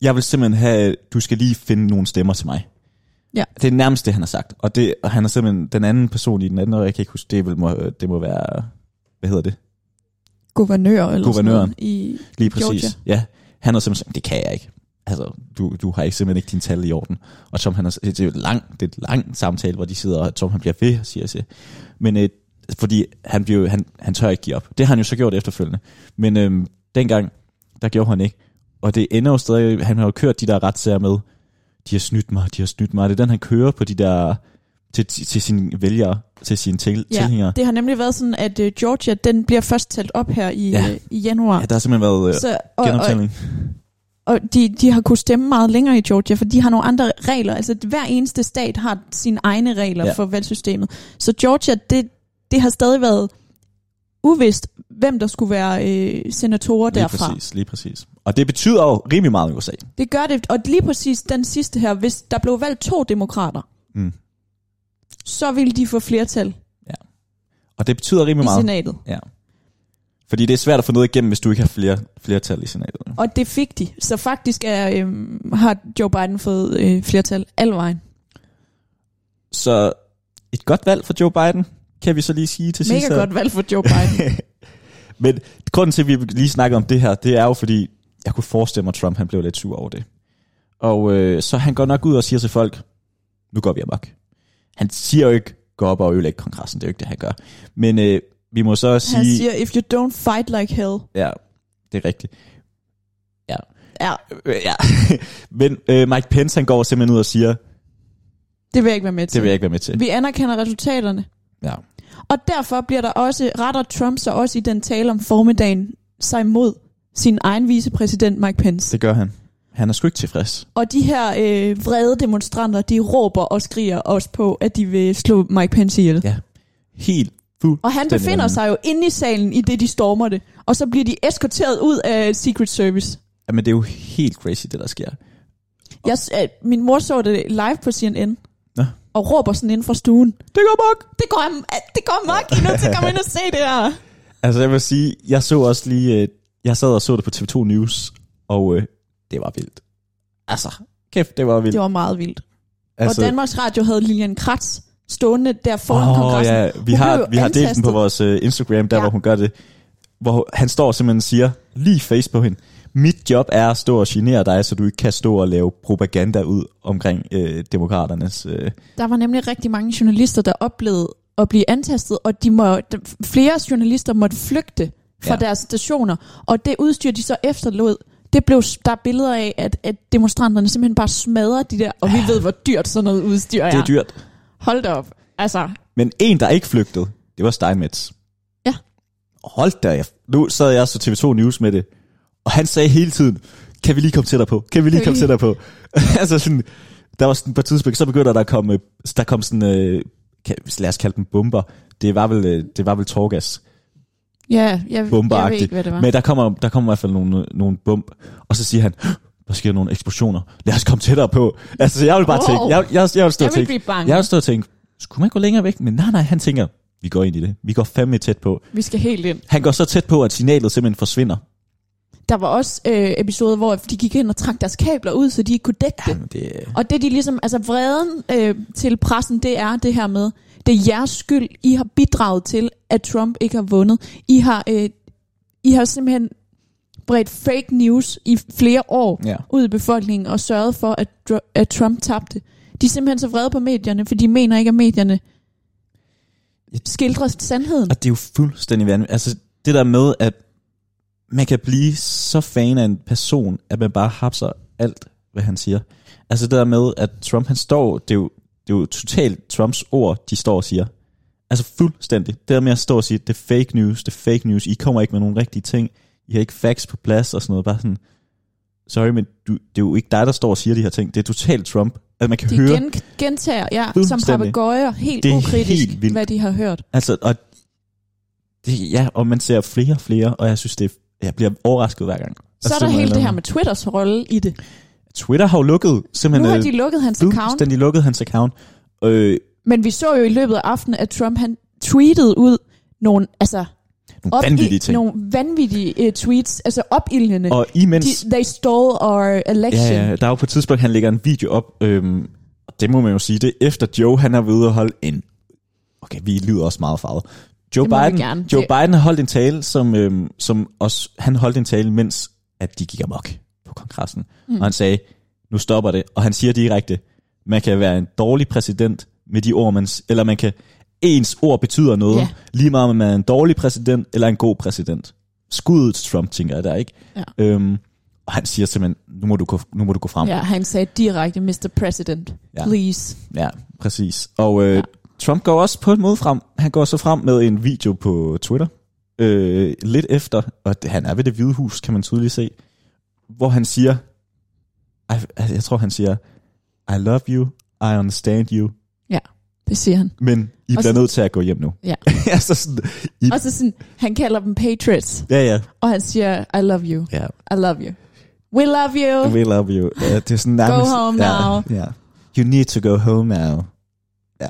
[SPEAKER 2] jeg vil simpelthen have, du skal lige finde nogle stemmer til mig.
[SPEAKER 1] Ja.
[SPEAKER 2] Det er nærmest det, han har sagt, og, det, og han har simpelthen, den anden person i den anden, og jeg kan ikke huske, det, vil, må, det må være, hvad hedder det?
[SPEAKER 1] Guvernør eller
[SPEAKER 2] Guvernøren.
[SPEAKER 1] sådan noget i
[SPEAKER 2] Lige præcis.
[SPEAKER 1] Georgia.
[SPEAKER 2] Ja, han har simpelthen sagt, det kan jeg ikke. Altså, du, du har ikke simpelthen ikke dine tal i orden. Og Tom, han har, det er jo et langt, det er et langt samtale, hvor de sidder, og Tom han bliver ved, og siger, siger. Men øh, fordi han, bliver, jo- han, han tør ikke give op. Det har han jo så gjort efterfølgende. Men øh, dengang, der gjorde han ikke. Og det ender jo stadig, han har jo kørt de der retssager med, de har snydt mig, de har snydt mig. Det er den, han kører på de der, til, til, til sine vælgere, til sine til, ja, tilhængere.
[SPEAKER 1] det har nemlig været sådan, at øh, Georgia, den bliver først talt op her i,
[SPEAKER 2] Ja.
[SPEAKER 1] ja. øh, i januar.
[SPEAKER 2] Ja, der har simpelthen været øh,
[SPEAKER 1] så, og, og,
[SPEAKER 2] genoptælling.
[SPEAKER 1] og de, de har kunnet stemme meget længere i Georgia, for de har nogle andre regler. Altså hver eneste stat har sine egne regler
[SPEAKER 2] Ja.
[SPEAKER 1] ja. for valgsystemet. Så Georgia, det, det har stadig været uvist, hvem der skulle være øh, senatorer
[SPEAKER 2] Lige
[SPEAKER 1] derfra.
[SPEAKER 2] præcis, lige præcis. Og det betyder jo rimelig meget i USA.
[SPEAKER 1] Det gør det, og lige præcis den sidste her, hvis der blev valgt to demokrater,
[SPEAKER 2] Mm.
[SPEAKER 1] så ville de få flertal
[SPEAKER 2] Og det betyder rimelig
[SPEAKER 1] i
[SPEAKER 2] meget.
[SPEAKER 1] senatet.
[SPEAKER 2] Ja. Fordi det er svært at få noget igennem, hvis du ikke har flere, flertal i senatet. jo.
[SPEAKER 1] Og det fik de. Så faktisk er, øhm, har Joe Biden fået øh, flertal alle vejen.
[SPEAKER 2] Så et godt valg for Joe Biden, kan vi så lige sige til sidst.
[SPEAKER 1] Mega
[SPEAKER 2] her.
[SPEAKER 1] godt valg for Joe Biden.
[SPEAKER 2] Men grunden til, at vi lige snakker om det her, det er jo fordi, jeg kunne forestille mig, at Trump han blev lidt sur over det. Og øh, så han går nok ud og siger til folk, nu går vi amok. Han siger jo ikke, gå op og ødelægge kongressen, det er jo ikke det, han gør. Men øh, vi må så sige...
[SPEAKER 1] Han siger, if you don't fight like hell.
[SPEAKER 2] Ja, det er rigtigt. Ja.
[SPEAKER 1] Ja.
[SPEAKER 2] Øh, ja. Men øh, Mike Pence, han går simpelthen ud og siger,
[SPEAKER 1] Det vil jeg ikke være med til.
[SPEAKER 2] det vil jeg ikke være med til.
[SPEAKER 1] Vi anerkender resultaterne.
[SPEAKER 2] Ja.
[SPEAKER 1] Og derfor bliver der også, retter Trump sig også i den tale om formiddagen sig mod sin egen vicepræsident Mike Pence.
[SPEAKER 2] Det gør han. Han er sgu ikke tilfreds.
[SPEAKER 1] Og de her øh, vrede demonstranter, de råber og skriger også på, at de vil slå Mike Pence ihjel.
[SPEAKER 2] Ja. Helt fuld.
[SPEAKER 1] Og han
[SPEAKER 2] Den
[SPEAKER 1] befinder
[SPEAKER 2] anden.
[SPEAKER 1] sig jo inde i salen, i det de stormer det. Og så bliver de eskorteret ud af Secret Service.
[SPEAKER 2] Jamen, det er jo helt crazy, det der sker.
[SPEAKER 1] Jeg, s- øh, min mor så det live på CNN.
[SPEAKER 2] Nå.
[SPEAKER 1] Og råber sådan inden fra stuen.
[SPEAKER 2] Det går bak!
[SPEAKER 1] Det går, am- det går mok, I er nødt til at komme ind og se det her.
[SPEAKER 2] Altså, jeg vil sige, jeg så også lige... øh, Jeg sad og så det på TV2 News, og øh, det var vildt. Altså, kæft, det var vildt.
[SPEAKER 1] Det var meget vildt.
[SPEAKER 2] altså,
[SPEAKER 1] og Danmarks Radio havde Lilian Kratz stående der foran oh,
[SPEAKER 2] Åh,
[SPEAKER 1] kongressen.
[SPEAKER 2] ja. Vi
[SPEAKER 1] Hun
[SPEAKER 2] har,
[SPEAKER 1] blev jo
[SPEAKER 2] vi har delt den
[SPEAKER 1] antastet.
[SPEAKER 2] på vores uh, Instagram, der ja.
[SPEAKER 1] Ja.
[SPEAKER 2] hvor hun gør det. Hvor han står og simpelthen og siger, lige i face på hende, mit job er at stå og genere dig, så du ikke kan stå og lave propaganda ud omkring øh, demokraternes... Øh.
[SPEAKER 1] Der var nemlig rigtig mange journalister, der oplevede at blive antastet, og de må, d- flere journalister måtte flygte fra
[SPEAKER 2] Ja.
[SPEAKER 1] ja. deres stationer, og det udstyr, de så efterlod, det blev, s- der er billeder af, at, at demonstranterne simpelthen bare smadrer de der, og vi ved, hvor dyrt sådan noget udstyr er.
[SPEAKER 2] Det er dyrt.
[SPEAKER 1] Hold da op. Altså,
[SPEAKER 2] Men en, der ikke flygtede, det var Steinmetz.
[SPEAKER 1] Ja.
[SPEAKER 2] Hold da, jeg- nu sad jeg så TV2 News med det, og han sagde hele tiden, kan vi lige komme tættere på? Kan vi lige
[SPEAKER 1] vi
[SPEAKER 2] komme
[SPEAKER 1] lige-
[SPEAKER 2] tættere på? altså sådan, der var sådan på et tidspunkt, så begyndte der at komme, øh, der kom sådan, øh, kan, lad os kalde dem bomber. Det var vel, øh, det var vel torgas,
[SPEAKER 1] ja, jeg, jeg ved
[SPEAKER 2] bomberagtigt.
[SPEAKER 1] ikke, hvad det var.
[SPEAKER 2] Men der kommer, der kommer i hvert fald nogle, øh, nogle bump, og så siger han, "Hå, der sker nogle eksplosioner. Lad os komme tættere på. Altså, jeg vil bare
[SPEAKER 1] Wow.
[SPEAKER 2] tænke, jeg, jeg, jeg vil stå
[SPEAKER 1] jeg ville
[SPEAKER 2] og tænke,
[SPEAKER 1] blive bange.
[SPEAKER 2] jeg har stået og tænkt, skulle man gå længere væk? Men nej, nej, han tænker, vi går ind i det. Vi går fandme tæt på.
[SPEAKER 1] Vi skal helt ind.
[SPEAKER 2] Han går så tæt på, at signalet simpelthen forsvinder.
[SPEAKER 1] Der var også øh, episoder, hvor de gik ind og trak deres kabler ud, så de ikke kunne dække det.
[SPEAKER 2] Jamen, det,
[SPEAKER 1] Og det de ligesom, altså vreden øh, til pressen, det er det her med, det er jeres skyld, I har bidraget til, at Trump ikke har vundet. I har, øh, I har simpelthen bredt fake news i flere år
[SPEAKER 2] ja.
[SPEAKER 1] ud i befolkningen og sørget for, at, Dr- at Trump tabte. De er simpelthen så vrede på medierne, for de mener ikke, at medierne skildrer sandheden.
[SPEAKER 2] Og det er jo fuldstændig vanvittigt. Altså, det der med, at man kan blive så fan af en person, at man bare hapser alt, hvad han siger. Altså det der med, at Trump han står, det er jo, det er jo totalt Trumps ord, de står og siger. Altså fuldstændig. Det der med at stå og sige, det er fake news, det er fake news, I kommer ikke med nogle rigtige ting, I har ikke facts på plads og sådan noget. Bare sådan, sorry, men du, det er jo ikke dig, der står og siger de her ting. Det er totalt Trump. Altså man kan
[SPEAKER 1] De
[SPEAKER 2] høre,
[SPEAKER 1] gen, gentager ja, som
[SPEAKER 2] Fuldstændig.
[SPEAKER 1] papegøjer helt
[SPEAKER 2] Det er
[SPEAKER 1] ukritisk,
[SPEAKER 2] helt vildt.
[SPEAKER 1] hvad de har hørt.
[SPEAKER 2] Altså, og det, ja, og man ser flere og flere, og jeg synes, det jeg bliver overrasket hver gang.
[SPEAKER 1] Så er der
[SPEAKER 2] Simpelthen
[SPEAKER 1] hele det her
[SPEAKER 2] noget.
[SPEAKER 1] med Twitters rolle i det.
[SPEAKER 2] Twitter har jo lukket,
[SPEAKER 1] Nu
[SPEAKER 2] simpelthen
[SPEAKER 1] har
[SPEAKER 2] øh,
[SPEAKER 1] de lukket hans account.
[SPEAKER 2] fuldstændig lukket hans account. Øh,
[SPEAKER 1] Men vi så jo i løbet af aftenen, at Trump han tweetede ud nogle, altså,
[SPEAKER 2] nogle vanvittige
[SPEAKER 1] i,
[SPEAKER 2] ting.
[SPEAKER 1] nogle vanvittige uh, tweets, altså opildnende.
[SPEAKER 2] Og imens,
[SPEAKER 1] De, they stole our election.
[SPEAKER 2] ja, ja, der er jo på et tidspunkt, han lægger en video op, øhm, og det må man jo sige, det er efter Joe, han har ved at holde en, okay, vi lyder også meget farvet. Joe
[SPEAKER 1] Det må vi
[SPEAKER 2] Biden,
[SPEAKER 1] gerne.
[SPEAKER 2] Joe
[SPEAKER 1] Det-
[SPEAKER 2] Biden har holdt en tale, som, øhm, som også, han holdt en tale, mens at de gik amok på kongressen. Mm. Og han sagde, nu stopper det. Og han siger direkte, man kan være en dårlig præsident med de ord, man, s- eller man kan, ens ord betyder noget,
[SPEAKER 1] Ja.
[SPEAKER 2] lige meget om man er en dårlig præsident eller en god præsident. Skuddet til Trump, tænker jeg der, ikke?
[SPEAKER 1] Ja.
[SPEAKER 2] Øhm, og han siger simpelthen, nu må du gå, nu må du gå frem.
[SPEAKER 1] ja, han sagde direkte, Mr. President,
[SPEAKER 2] Ja.
[SPEAKER 1] please.
[SPEAKER 2] Ja, præcis. Og øh, ja.
[SPEAKER 1] Ja.
[SPEAKER 2] Trump går også på en måde frem. Han går så frem med en video på Twitter, øh, lidt efter, og det, han er ved det hvide hus, kan man tydeligt se, hvor han siger, I, altså, jeg tror han siger, I love you, I understand you,
[SPEAKER 1] Det siger han.
[SPEAKER 2] men I
[SPEAKER 1] Og
[SPEAKER 2] bliver
[SPEAKER 1] så-
[SPEAKER 2] nødt til at gå hjem nu.
[SPEAKER 1] Ja.
[SPEAKER 2] altså sådan, I,
[SPEAKER 1] Og så sådan, han kalder dem patriots,
[SPEAKER 2] ja, ja,
[SPEAKER 1] og han siger, I love you,
[SPEAKER 2] ja.
[SPEAKER 1] I love you. We love you.
[SPEAKER 2] We love you. Ja, det er sådan nærmest,
[SPEAKER 1] home
[SPEAKER 2] ja,
[SPEAKER 1] now.
[SPEAKER 2] Ja. You need to go home now. Ja.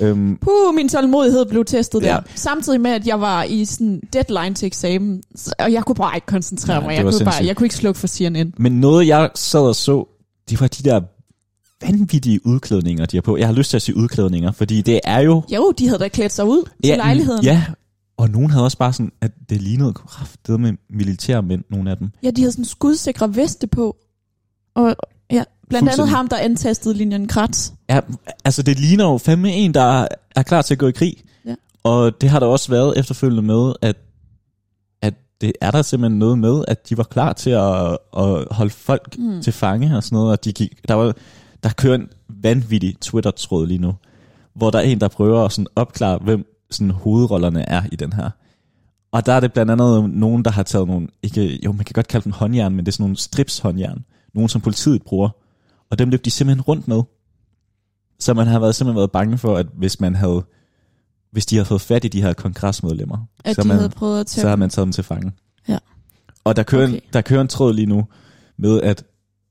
[SPEAKER 2] Øhm,
[SPEAKER 1] Puh, min tålmodighed blev testet der.
[SPEAKER 2] Ja.
[SPEAKER 1] Samtidig med, at jeg var i sådan deadline til eksamen, så- og jeg kunne bare ikke koncentrere
[SPEAKER 2] Nej,
[SPEAKER 1] mig.
[SPEAKER 2] det
[SPEAKER 1] Jeg
[SPEAKER 2] var
[SPEAKER 1] kunne, bare,
[SPEAKER 2] sindssygt.
[SPEAKER 1] jeg kunne ikke slukke for CNN.
[SPEAKER 2] Men noget, jeg sad og så, det var de der vanvittige udklædninger, de har på. Jeg har lyst til at sige udklædninger, fordi det er jo...
[SPEAKER 1] Jo, de havde da klædt sig ud til lejligheden.
[SPEAKER 2] Ja, og nogen havde også bare sådan, at det lignede kraftedet med militærmænd, nogle af dem.
[SPEAKER 1] Ja, de havde sådan skudsikre veste på. Og ja, Blandt andet
[SPEAKER 2] Fuldstændig.
[SPEAKER 1] ham, der antastede linjen Kratz.
[SPEAKER 2] Ja, altså det ligner jo fandme en, der er klar til at gå i krig.
[SPEAKER 1] Ja.
[SPEAKER 2] Og det har der også været efterfølgende med, at, at det er der simpelthen noget med, at de var klar til at, at holde folk mm. til fange og sådan noget. Og de gik, der, var, der kører en vanvittig Twitter-tråd lige nu, hvor der er en, der prøver at sådan opklare, hvem sådan hovedrollerne er i den her. Og der er det blandt andet nogen, der har taget nogle, ikke, jo man kan godt kalde dem håndjern, men det er sådan nogle strips-håndjern. Nogen, som politiet bruger. Og dem løb de simpelthen rundt med. Så man har været, simpelthen været bange for, at hvis man havde hvis de havde fået fat i de her kongresmedlemmer,
[SPEAKER 1] At
[SPEAKER 2] så,
[SPEAKER 1] de
[SPEAKER 2] man,
[SPEAKER 1] havde prøvet at
[SPEAKER 2] så
[SPEAKER 1] tage
[SPEAKER 2] har man taget dem til fange.
[SPEAKER 1] Ja.
[SPEAKER 2] Og der kører, okay.
[SPEAKER 1] Okay.
[SPEAKER 2] en, der kører en tråd lige nu med, at,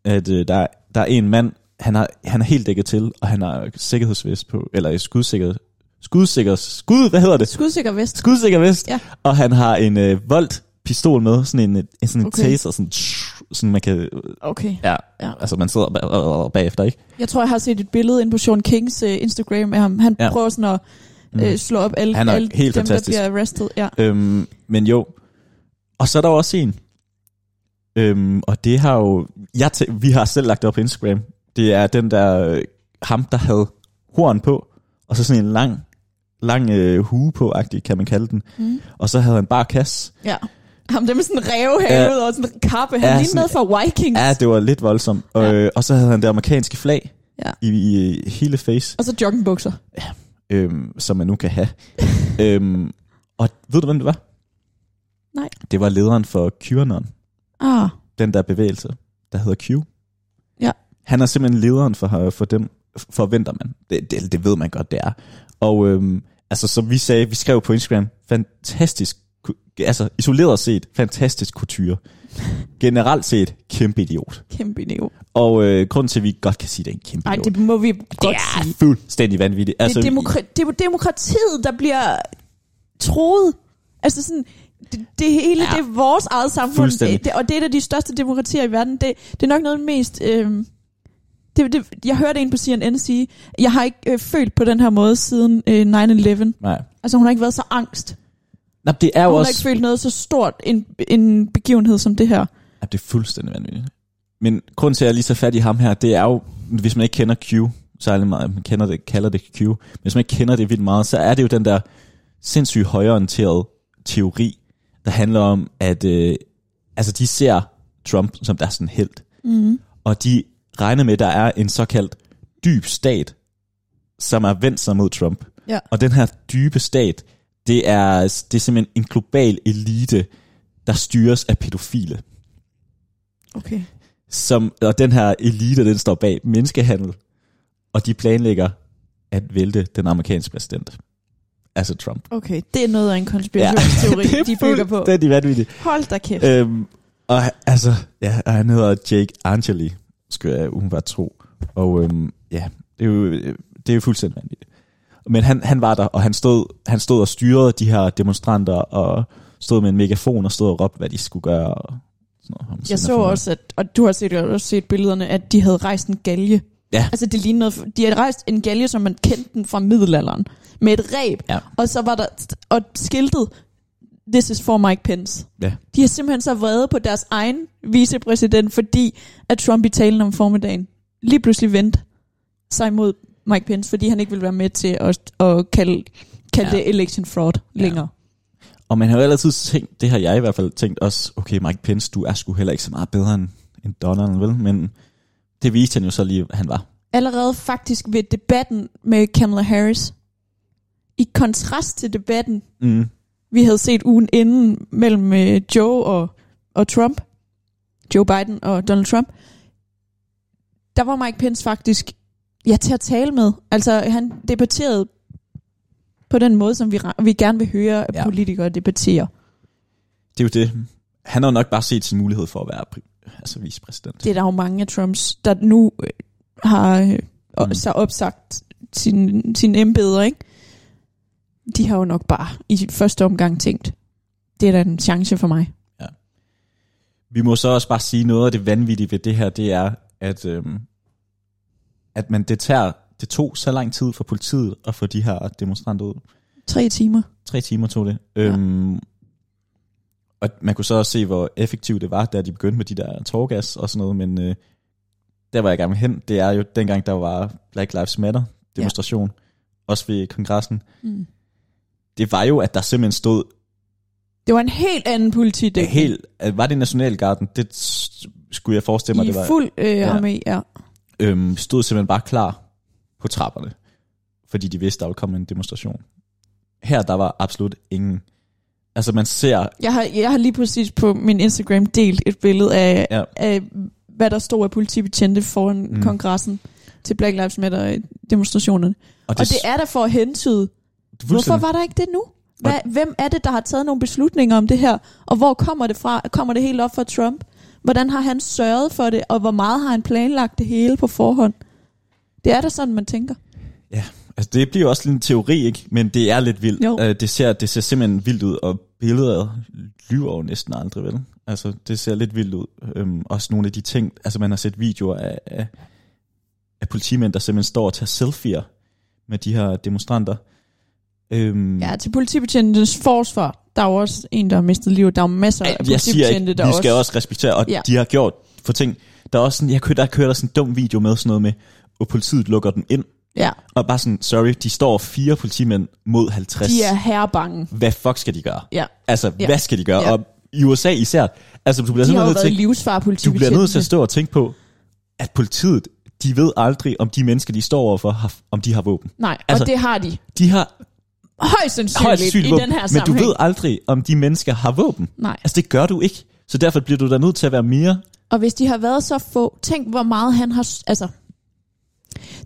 [SPEAKER 2] at øh, der, der er en mand, han har, han er helt dækket til, og han har sikkerhedsvest på, eller skudsikker, skudsikker, skud, hvad hedder det?
[SPEAKER 1] Skudsikker vest.
[SPEAKER 2] skudsikker vest,
[SPEAKER 1] Ja.
[SPEAKER 2] og han har en øh, voldt pistol med, sådan en, øh, en sådan
[SPEAKER 1] Okay.
[SPEAKER 2] okay. taser, sådan, tsh, sådan man kan,
[SPEAKER 1] Okay.
[SPEAKER 2] ja,
[SPEAKER 1] Ja.
[SPEAKER 2] ja. altså man sidder ba- og- og- bagefter, ikke?
[SPEAKER 1] Jeg tror, jeg har set et billede inde på Sean Kings uh, Instagram af ham. Han ja.
[SPEAKER 2] Ja. Mm.
[SPEAKER 1] prøver sådan at uh, slå op alle,
[SPEAKER 2] Han er
[SPEAKER 1] alle
[SPEAKER 2] helt
[SPEAKER 1] dem,
[SPEAKER 2] fantastisk.
[SPEAKER 1] der bliver arrested. Ja.
[SPEAKER 2] Øhm, men jo, og så er der jo også en, øhm, og det har jo, jeg tæ- vi har selv lagt det op på Instagram, det er den der, øh, ham der havde horn på, og så sådan en lang, lang øh, hue på, kan man kalde den,
[SPEAKER 1] Mm.
[SPEAKER 2] og så havde han bare kasse,
[SPEAKER 1] ja. Ham der med sådan en ræve
[SPEAKER 2] Ja.
[SPEAKER 1] herude og sådan en kappe. Han
[SPEAKER 2] Ja,
[SPEAKER 1] ja, lignede
[SPEAKER 2] sådan-
[SPEAKER 1] noget fra Vikings.
[SPEAKER 2] ja, det var lidt voldsomt, og,
[SPEAKER 1] Ja.
[SPEAKER 2] øh, og så havde han det amerikanske flag,
[SPEAKER 1] Ja.
[SPEAKER 2] i, i, i hele face,
[SPEAKER 1] Og så joggingbukser.
[SPEAKER 2] øhm, som man nu kan have. øhm, og ved du, hvem det var?
[SPEAKER 1] Nej.
[SPEAKER 2] Det var lederen for QAnon,
[SPEAKER 1] Ah,
[SPEAKER 2] den der bevægelse, der hedder Q.
[SPEAKER 1] Ja.
[SPEAKER 2] Han er simpelthen lederen for, øh, for dem, forventer man. Det, det, det ved man godt, det er. Og øhm, altså, som vi sagde, vi skrev på Instagram, fantastisk, ku- altså isoleret set, fantastisk kultur. Generelt set, kæmpe idiot.
[SPEAKER 1] kæmpe niveau.
[SPEAKER 2] Og øh, grunden til, at vi godt kan sige, at det er en kæmpe
[SPEAKER 1] Ej,
[SPEAKER 2] idiot,
[SPEAKER 1] det må vi godt
[SPEAKER 2] er
[SPEAKER 1] sige.
[SPEAKER 2] fuldstændig vanvittigt.
[SPEAKER 1] Altså, det, er demokra- det er demokratiet, der bliver troet. Altså sådan, det, det hele,
[SPEAKER 2] Ja.
[SPEAKER 1] ja. det er vores eget samfund.
[SPEAKER 2] Fuldstændig.
[SPEAKER 1] Det, det, og det er et af de største demokratier i verden. Det, det er nok noget af det mest... Øh, det, det, jeg hørte en på CNN sige, jeg har ikke øh, følt på den her måde siden øh, 9-11.
[SPEAKER 2] Nej.
[SPEAKER 1] Altså hun har ikke været så angst.
[SPEAKER 2] Nå, det er jo
[SPEAKER 1] Hun har ikke
[SPEAKER 2] også...
[SPEAKER 1] følt noget så stort en, en begivenhed som det her.
[SPEAKER 2] Ja, det er fuldstændig vanvittigt. Men grunden til, at jeg lige så fat i ham her, det er jo, hvis man ikke kender Q, så er det meget, man kender det, kalder det Q, men hvis man ikke kender det vildt meget, så er det jo den der sindssygt højorienterede teori, der handler om, at øh, altså de ser Trump som der er sådan helt.
[SPEAKER 1] Mm.
[SPEAKER 2] og de regner med, at der er en såkaldt dyb stat, som er vendt sig mod Trump.
[SPEAKER 1] Ja.
[SPEAKER 2] Og den her dybe stat, det er, det er simpelthen en global elite, der styres af pædofile.
[SPEAKER 1] Okay.
[SPEAKER 2] Som, og den her elite, den står bag menneskehandel, og de planlægger at vælte den amerikanske præsident. Altså Trump.
[SPEAKER 1] Okay, det er noget af en konspirationsteori, ja. de bygger på.
[SPEAKER 2] Det er de vanvittige.
[SPEAKER 1] Hold da kæft.
[SPEAKER 2] Øhm, og han- altså, ja, og han hedder Jake Angeli, skal jeg umiddelbart tro. Og øhm, ja, det er jo, øh, det er jo fuldstændig vanvittigt. Men han, han var der, og han stod, han stod og styrede de her demonstranter, og stod med en megafon og stod og råbte, hvad de skulle gøre. Og sådan noget, Ham
[SPEAKER 1] Jeg
[SPEAKER 2] sender
[SPEAKER 1] så
[SPEAKER 2] for noget.
[SPEAKER 1] også, at, og du har set, også set billederne, at de havde rejst en galge.
[SPEAKER 2] Ja.
[SPEAKER 1] Altså, det lignede noget, de havde rejst en galge, som man kendte den fra middelalderen, med et ræb,
[SPEAKER 2] Ja.
[SPEAKER 1] og så var der og skiltet, this is for Mike Pence.
[SPEAKER 2] Ja.
[SPEAKER 1] De er simpelthen så vrede på deres egen vicepræsident, fordi at Trump i talen om formiddagen lige pludselig vendte sig mod Mike Pence, fordi han ikke ville være med til at, at kalde, kalde
[SPEAKER 2] Ja.
[SPEAKER 1] ja. det election fraud
[SPEAKER 2] Ja.
[SPEAKER 1] længere.
[SPEAKER 2] Og man har jo altid tænkt, det har jeg i hvert fald tænkt også, okay Mike Pence, du er sgu heller ikke så meget bedre end, end Donald, vel? Men det viste han jo så lige, han var.
[SPEAKER 1] allerede faktisk ved debatten med Kamala Harris, i kontrast til debatten,
[SPEAKER 2] Mm.
[SPEAKER 1] vi havde set ugen inden mellem øh, Joe og, og Trump, Joe Biden og Donald Trump, der var Mike Pence faktisk ja, til at tale med. Altså, han debatterede på den måde, som vi, re- vi gerne vil høre, at
[SPEAKER 2] Ja.
[SPEAKER 1] ja. politikere debatterer.
[SPEAKER 2] Det er jo det. Han har jo nok bare set sin mulighed for at være pri- altså vicepræsident.
[SPEAKER 1] Det er der jo mange af Trumps, der nu øh, har øh,
[SPEAKER 2] Mm.
[SPEAKER 1] mm. så opsagt sin, sin embeder, ikke? De har jo nok bare i første omgang tænkt, det er da en chance for mig.
[SPEAKER 2] Vi må så også bare sige noget af det vanvittige ved det her, det er, at, øhm, at man det, tager, det tog så lang tid for politiet at få de her demonstranter ud.
[SPEAKER 1] Tre timer.
[SPEAKER 2] Tre timer tog det. Øhm, Og man kunne så også se, hvor effektivt det var, da de begyndte med de der torgas og sådan noget, men øh, der var jeg gerne vil hen, det er jo dengang, der var Black Lives Matter demonstration, ja. også ved kongressen.
[SPEAKER 1] Mm.
[SPEAKER 2] Det var jo, at der simpelthen stod
[SPEAKER 1] Det var en helt anden
[SPEAKER 2] det
[SPEAKER 1] politidækning.
[SPEAKER 2] helt... at Var det Nationalgarden? Det s- skulle jeg forestille mig,
[SPEAKER 1] I
[SPEAKER 2] det var.
[SPEAKER 1] fuld øh,
[SPEAKER 2] Ja.
[SPEAKER 1] ja. armé, ja.
[SPEAKER 2] Øhm, stod simpelthen bare klar på trapperne, fordi de vidste, der ville komme en demonstration. Her, der var absolut ingen... Altså, man ser
[SPEAKER 1] Jeg har, jeg har lige præcis på min Instagram delt et billede af,
[SPEAKER 2] Ja.
[SPEAKER 1] ja. af hvad der stod af politibetjente foran
[SPEAKER 2] Mm.
[SPEAKER 1] mm. kongressen til Black Lives Matter-demonstrationerne. Og, og det er der for at hentyde, hvorfor
[SPEAKER 2] fuldstændig-
[SPEAKER 1] var der ikke det nu? Hvad, hvem er det, der har taget nogle beslutninger om det her? Og hvor kommer det fra? Kommer det helt op fra Trump? Hvordan har han sørget for det? Og hvor meget har han planlagt det hele på forhånd? Det er da sådan, man tænker.
[SPEAKER 2] Altså, det bliver også lidt en teori, ikke? Men det er lidt vildt.
[SPEAKER 1] Jo.
[SPEAKER 2] Øh, det, ser, det ser simpelthen vildt ud, og billeder lyver jo næsten aldrig, vel? Altså, det ser lidt vildt ud. Øhm, også nogle af de ting, altså man har set videoer af, af, af politimænd, der simpelthen står og tager selfies med de her demonstranter. Øhm,
[SPEAKER 1] Ja, til politibetjentens forsvar, der er jo også en, der har mistet livet. Der er jo masser af
[SPEAKER 2] jeg siger
[SPEAKER 1] politibetjente,
[SPEAKER 2] ikke,
[SPEAKER 1] der
[SPEAKER 2] vi skal også respektere, og ja.
[SPEAKER 1] Ja.
[SPEAKER 2] de har gjort for ting. Der er også sådan, jeg kører, der kører der sådan en dum video med sådan noget med, og politiet lukker dem ind,
[SPEAKER 1] Ja,
[SPEAKER 2] og bare sådan, sorry, de står fire politimænd mod 50.
[SPEAKER 1] de er herrebange.
[SPEAKER 2] Hvad fuck skal de gøre?
[SPEAKER 1] Ja.
[SPEAKER 2] Altså, ja.
[SPEAKER 1] Ja.
[SPEAKER 2] hvad skal de gøre? Ja.
[SPEAKER 1] Ja.
[SPEAKER 2] Og i USA især, altså du bliver,
[SPEAKER 1] De har
[SPEAKER 2] simpelthen
[SPEAKER 1] jo
[SPEAKER 2] nødt
[SPEAKER 1] været
[SPEAKER 2] til,
[SPEAKER 1] livsfar
[SPEAKER 2] du bliver nødt til at stå og tænke på, at politiet, de ved aldrig, om de mennesker, de står overfor, har, om de har våben.
[SPEAKER 1] Nej,
[SPEAKER 2] Altså-
[SPEAKER 1] og det har de
[SPEAKER 2] De har
[SPEAKER 1] højst sandsynligt,
[SPEAKER 2] højst
[SPEAKER 1] i
[SPEAKER 2] sygt våben,
[SPEAKER 1] den her
[SPEAKER 2] men du
[SPEAKER 1] sammenhæng.
[SPEAKER 2] ved aldrig, om de mennesker har våben.
[SPEAKER 1] Nej.
[SPEAKER 2] Altså, det gør du ikke. Så derfor bliver du da nødt til at være mere...
[SPEAKER 1] Og hvis de har været så få, tænk hvor meget han har... s- Altså,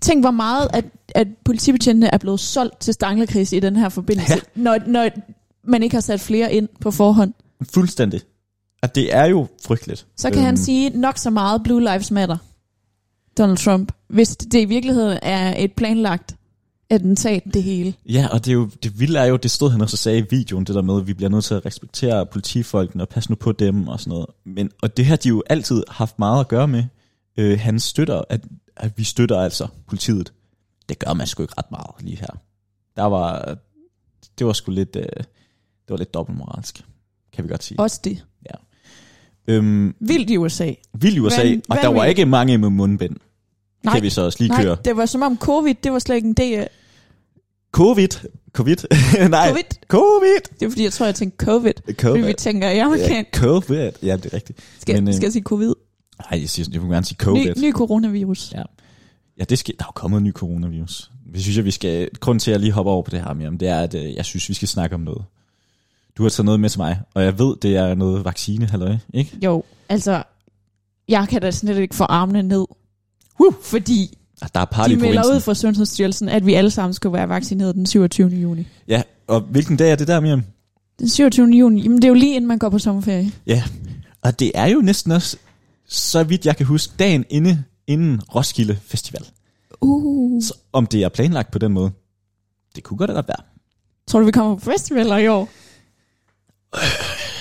[SPEAKER 1] tænk hvor meget, at, at politibetjentene er blevet solgt til Stanglerkris i den her forbindelse,
[SPEAKER 2] Ja.
[SPEAKER 1] ja. når, når man ikke har sat flere ind på forhånd.
[SPEAKER 2] Fuldstændig. At det er jo frygteligt.
[SPEAKER 1] Så kan øhm. han sige nok så meget Blue Lives Matter, Donald Trump, hvis det i virkeligheden er et planlagt attentat, det hele.
[SPEAKER 2] Ja, og det, er jo, det vilde er jo, det stod han også og sagde i videoen, det der med, at vi bliver nødt til at respektere politifolkene og passe nu på dem og sådan noget. Men, og det har de jo altid haft meget at gøre med. Øh, han støtter, at, at vi støtter altså politiet. Det gør man sgu ikke ret meget lige her. Der var, det var sgu lidt, øh, det var lidt dobbeltmoralsk, kan vi godt sige.
[SPEAKER 1] Også det.
[SPEAKER 2] Øhm,
[SPEAKER 1] Vildt i USA.
[SPEAKER 2] vild i USA,
[SPEAKER 1] Van-
[SPEAKER 2] og der var
[SPEAKER 1] vanvittigt.
[SPEAKER 2] ikke mange med mundbind,
[SPEAKER 1] Nej,
[SPEAKER 2] kan vi så også lige
[SPEAKER 1] nej,
[SPEAKER 2] køre.
[SPEAKER 1] det var som om covid, det var slet ikke en del af
[SPEAKER 2] Covid, covid, nej, covid,
[SPEAKER 1] covid.
[SPEAKER 2] covid,
[SPEAKER 1] Det er fordi, jeg tror, jeg tænkte covid. Fordi vi
[SPEAKER 2] covid.
[SPEAKER 1] tænker, jeg er
[SPEAKER 2] Ja,
[SPEAKER 1] amerikan.
[SPEAKER 2] covid, ja, det er rigtigt.
[SPEAKER 1] Skal,
[SPEAKER 2] Men, øh,
[SPEAKER 1] skal jeg sige covid?
[SPEAKER 2] Nej, jeg, siger, sådan, jeg vil gerne sige
[SPEAKER 1] Ny,
[SPEAKER 2] COVID. Ny, ny.
[SPEAKER 1] ny coronavirus.
[SPEAKER 2] Ja. Ja, det skal, der er jo kommet en ny coronavirus. Vi synes, at vi skal... Grunden til, at jeg lige hopper over på det her, Miriam, det er, at øh, jeg synes, vi skal snakke om noget. Du har taget noget med til mig, og jeg ved, det er noget vaccine, halløj, ikke?
[SPEAKER 1] Jo, altså, jeg kan da slet ikke få armene ned.
[SPEAKER 2] Woo!
[SPEAKER 1] Fordi
[SPEAKER 2] Og Der er party
[SPEAKER 1] de
[SPEAKER 2] på
[SPEAKER 1] melder ud
[SPEAKER 2] ud.
[SPEAKER 1] fra Sundhedsstyrelsen, at vi alle sammen skulle være vaccineret den 27. juni.
[SPEAKER 2] Ja, og hvilken dag er det der, Miriam?
[SPEAKER 1] Den 27. juni, jamen det er jo lige inden man går på sommerferie.
[SPEAKER 2] Ja, og det er jo næsten også, så vidt jeg kan huske, dagen inde, inden Roskilde Festival.
[SPEAKER 1] Mm. Uh.
[SPEAKER 2] Så om det er planlagt på den måde, det kunne godt være.
[SPEAKER 1] Tror du, vi kommer på festivaler i år?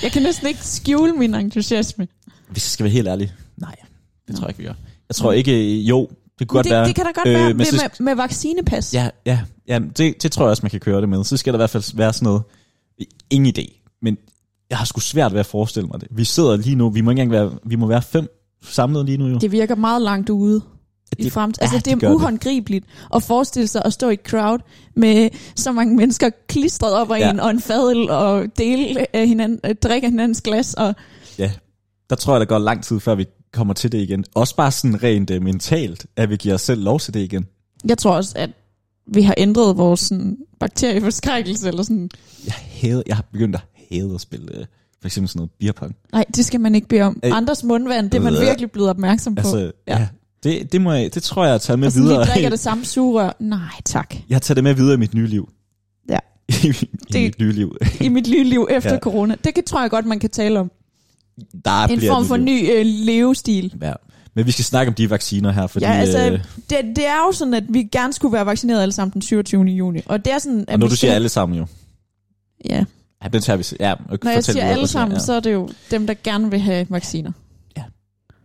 [SPEAKER 1] Jeg kan næsten ikke skjule min entusiasme.
[SPEAKER 2] Hvis jeg skal være helt ærlig, nej, det
[SPEAKER 1] Nå.
[SPEAKER 2] tror jeg ikke, vi gør. Jeg tror ikke, øh, jo, det kunne godt
[SPEAKER 1] det,
[SPEAKER 2] være.
[SPEAKER 1] det kan da godt
[SPEAKER 2] øh,
[SPEAKER 1] øh, være
[SPEAKER 2] men
[SPEAKER 1] med,
[SPEAKER 2] så-
[SPEAKER 1] med, med vaccinepas.
[SPEAKER 2] Ja, ja, ja det, det tror jeg også, man kan køre det med. Så skal der i hvert fald være sådan noget. Ingen idé, men jeg har sgu svært ved at forestille mig det. Vi sidder lige nu, vi må ikke engang være, vi må være fem samlet lige nu jo.
[SPEAKER 1] Det virker meget langt ude. i
[SPEAKER 2] Det-
[SPEAKER 1] fremtiden. Altså,
[SPEAKER 2] ja,
[SPEAKER 1] ja,
[SPEAKER 2] det
[SPEAKER 1] det, det
[SPEAKER 2] gør
[SPEAKER 1] er
[SPEAKER 2] det.
[SPEAKER 1] uhåndgribeligt at forestille sig at stå i et crowd med så mange mennesker klistret op af
[SPEAKER 2] Ja.
[SPEAKER 1] ja. en, og en fadel, og dele af hinanden, øh, drikke af hinandens glas, og
[SPEAKER 2] Ja, der tror jeg, der går lang tid, før vi kommer til det igen. Også bare sådan rent uh, mentalt, at vi giver os selv lov til det igen.
[SPEAKER 1] jeg tror også, at vi har ændret vores sådan, bakterieforskrækkelse, eller sådan.
[SPEAKER 2] Jeg, hader, jeg har begyndt at hade at spille uh, for eksempel sådan noget beerpong.
[SPEAKER 1] Nej, det skal man ikke bede om.
[SPEAKER 2] Øh.
[SPEAKER 1] Andres mundvand, det er man
[SPEAKER 2] Øh.
[SPEAKER 1] virkelig blevet opmærksom på.
[SPEAKER 2] Altså,
[SPEAKER 1] Altså,
[SPEAKER 2] ja.
[SPEAKER 1] Ja.
[SPEAKER 2] ja det, det, må jeg, det tror jeg, jeg tager med
[SPEAKER 1] og sådan,
[SPEAKER 2] videre.
[SPEAKER 1] vi drikker det samme sugerør. Nej, tak.
[SPEAKER 2] Jeg tager det med videre i mit nye liv.
[SPEAKER 1] Ja.
[SPEAKER 2] I, i
[SPEAKER 1] Det-
[SPEAKER 2] mit nye liv.
[SPEAKER 1] I mit lille liv efter
[SPEAKER 2] Ja.
[SPEAKER 1] ja. corona. Det kan, tror jeg godt, man kan tale om.
[SPEAKER 2] Der
[SPEAKER 1] En
[SPEAKER 2] bliver et
[SPEAKER 1] form
[SPEAKER 2] nyt
[SPEAKER 1] for
[SPEAKER 2] liv.
[SPEAKER 1] ny øh, levestil.
[SPEAKER 2] Ja. Men vi skal snakke om de vacciner her, fordi
[SPEAKER 1] Ja, altså,
[SPEAKER 2] øh,
[SPEAKER 1] det, det er jo sådan, at vi gerne skulle være vaccineret alle sammen den 27. juni. Og det er sådan, at
[SPEAKER 2] og når
[SPEAKER 1] vi
[SPEAKER 2] du
[SPEAKER 1] skal-
[SPEAKER 2] siger alle sammen jo.
[SPEAKER 1] Ja,
[SPEAKER 2] Ja, den tager vi. Ja, og
[SPEAKER 1] når
[SPEAKER 2] fortæl
[SPEAKER 1] jeg siger
[SPEAKER 2] videre,
[SPEAKER 1] alle
[SPEAKER 2] og sådan,
[SPEAKER 1] sammen, ja. så er det jo dem, der gerne vil have vacciner.
[SPEAKER 2] Ja.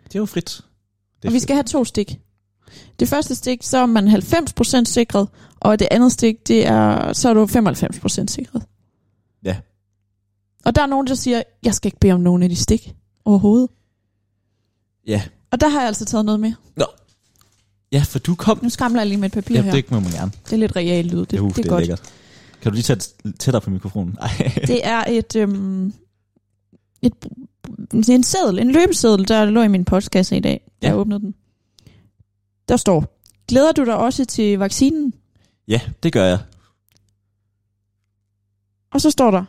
[SPEAKER 2] Det er jo frit. Det er
[SPEAKER 1] Og vi skal have to stik. Det første stik, så er man 90% sikret, og det andet stik, det er, så er du 95% sikret.
[SPEAKER 2] Ja.
[SPEAKER 1] Og der er nogen, der siger, jeg skal ikke bede om nogen af de stik overhovedet.
[SPEAKER 2] Ja.
[SPEAKER 1] Og der har jeg altså taget noget med.
[SPEAKER 2] Nå, Ja, for du kom...
[SPEAKER 1] Nu skramler jeg lige med et papir
[SPEAKER 2] Ja,
[SPEAKER 1] her.
[SPEAKER 2] det må man gerne.
[SPEAKER 1] Det er lidt real lyd. Det,
[SPEAKER 2] Det, uh,
[SPEAKER 1] det er godt.
[SPEAKER 2] lækkert. Kan du lige tage tættere på mikrofonen? Ej.
[SPEAKER 1] Det er et, øhm, et, en seddel, en løbeseddel, der lå i min postkasse i dag, da
[SPEAKER 2] Ja.
[SPEAKER 1] jeg åbnede den. Der står, glæder du dig også til vaccinen?
[SPEAKER 2] Ja, det gør jeg.
[SPEAKER 1] Og så står der,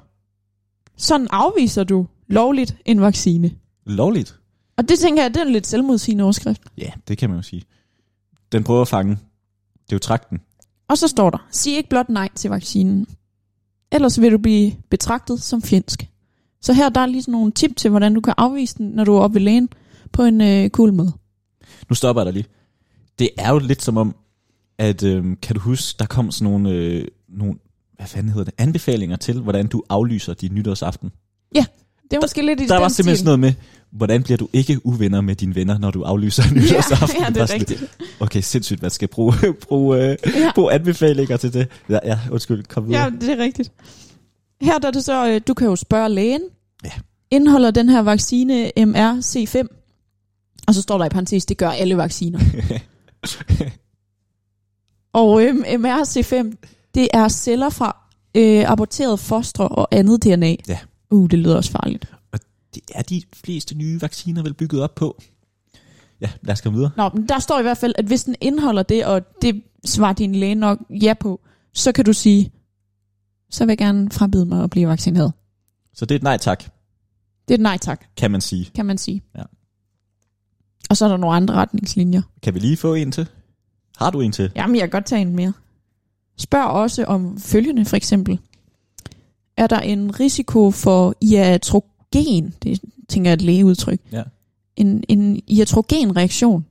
[SPEAKER 1] sådan afviser du lovligt en vaccine.
[SPEAKER 2] Lovligt.
[SPEAKER 1] Og det tænker jeg, det er en lidt selvmodsigende overskrift.
[SPEAKER 2] Ja, det kan man jo sige. Den prøver at fange. Det er jo trakten.
[SPEAKER 1] Og så står der, sig ikke blot nej til vaccinen. Ellers vil du blive betragtet som fjendsk. Så her der er lige sådan nogle tip til, hvordan du kan afvise den, når du er oppe ved lægen, på en øh, cool måde.
[SPEAKER 2] Nu stopper jeg dig lige. Det er jo lidt som om, at øhm, kan du huske, der kom sådan nogle, øh, nogle, hvad fanden hedder det, anbefalinger til, hvordan du aflyser din nytårsaften.
[SPEAKER 1] Det er måske lidt i
[SPEAKER 2] der
[SPEAKER 1] den
[SPEAKER 2] var simpelthen
[SPEAKER 1] stil.
[SPEAKER 2] sådan noget med, hvordan bliver du ikke uvenner med dine venner, når du aflyser nytårsaften?
[SPEAKER 1] Ja, ja, det
[SPEAKER 2] Bare
[SPEAKER 1] er
[SPEAKER 2] sådan,
[SPEAKER 1] rigtigt.
[SPEAKER 2] Okay, sindssygt, man skal bruge, bruge, øh,
[SPEAKER 1] Ja,
[SPEAKER 2] bruge anbefalinger til det. Ja, ja undskyld, kom videre.
[SPEAKER 1] ja, det er rigtigt. Her der er det så, øh, du kan jo spørge lægen.
[SPEAKER 2] Ja.
[SPEAKER 1] Indeholder den her vaccine MRC5? Og så står der i parentes, det gør alle vacciner. og øhm, MRC5, det er celler fra øh, aborterede fostre og andet DNA.
[SPEAKER 2] Ja.
[SPEAKER 1] Uh, det lyder også farligt.
[SPEAKER 2] Det er de fleste nye vacciner vel bygget op på. Ja, lad os komme videre.
[SPEAKER 1] Nå, men der står i hvert fald, at hvis den indeholder det, og det svarer din læge nok ja på, så kan du sige, så vil jeg gerne frabide mig at blive vaccineret.
[SPEAKER 2] Så det er et nej tak,
[SPEAKER 1] Det er et nej tak.
[SPEAKER 2] kan man sige.
[SPEAKER 1] kan man sige.
[SPEAKER 2] Ja.
[SPEAKER 1] Og så er der nogle andre retningslinjer.
[SPEAKER 2] Kan vi lige få en til? Har du en til?
[SPEAKER 1] Jamen, jeg kan godt tage en mere. Spørg også om følgende, for eksempel. Er der en risiko for iatrogen? Det tænker jeg er et lægeudtryk.
[SPEAKER 2] Ja.
[SPEAKER 1] En, en iatrogen reaktion.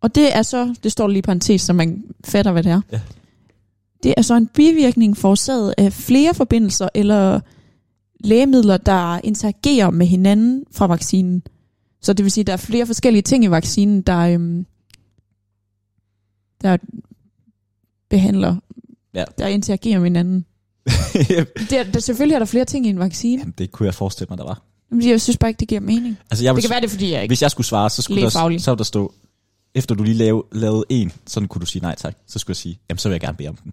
[SPEAKER 1] Og det er så, det står lige i parentes, så man fatter, hvad det er.
[SPEAKER 2] Ja.
[SPEAKER 1] Det er så en bivirkning forårsaget af flere forbindelser eller lægemidler, der interagerer med hinanden fra vaccinen. Så det vil sige, at der er flere forskellige ting i vaccinen, der, øhm, der behandler,
[SPEAKER 2] Ja.
[SPEAKER 1] der interagerer med hinanden. Det er, der, selvfølgelig er der flere ting i en vaccine,
[SPEAKER 2] Jamen, det kunne jeg forestille mig, der var.
[SPEAKER 1] men jeg synes bare ikke, det giver mening.
[SPEAKER 2] Altså, jeg
[SPEAKER 1] Det kan
[SPEAKER 2] ville,
[SPEAKER 1] være, det er, fordi jeg ikke...
[SPEAKER 2] Hvis jeg skulle svare, så skulle der,
[SPEAKER 1] Lægefaglig.
[SPEAKER 2] så ville der stå, efter du lige lave, lavede en, sådan kunne du sige nej tak. Så skulle jeg sige, jamen så vil jeg gerne bede om den.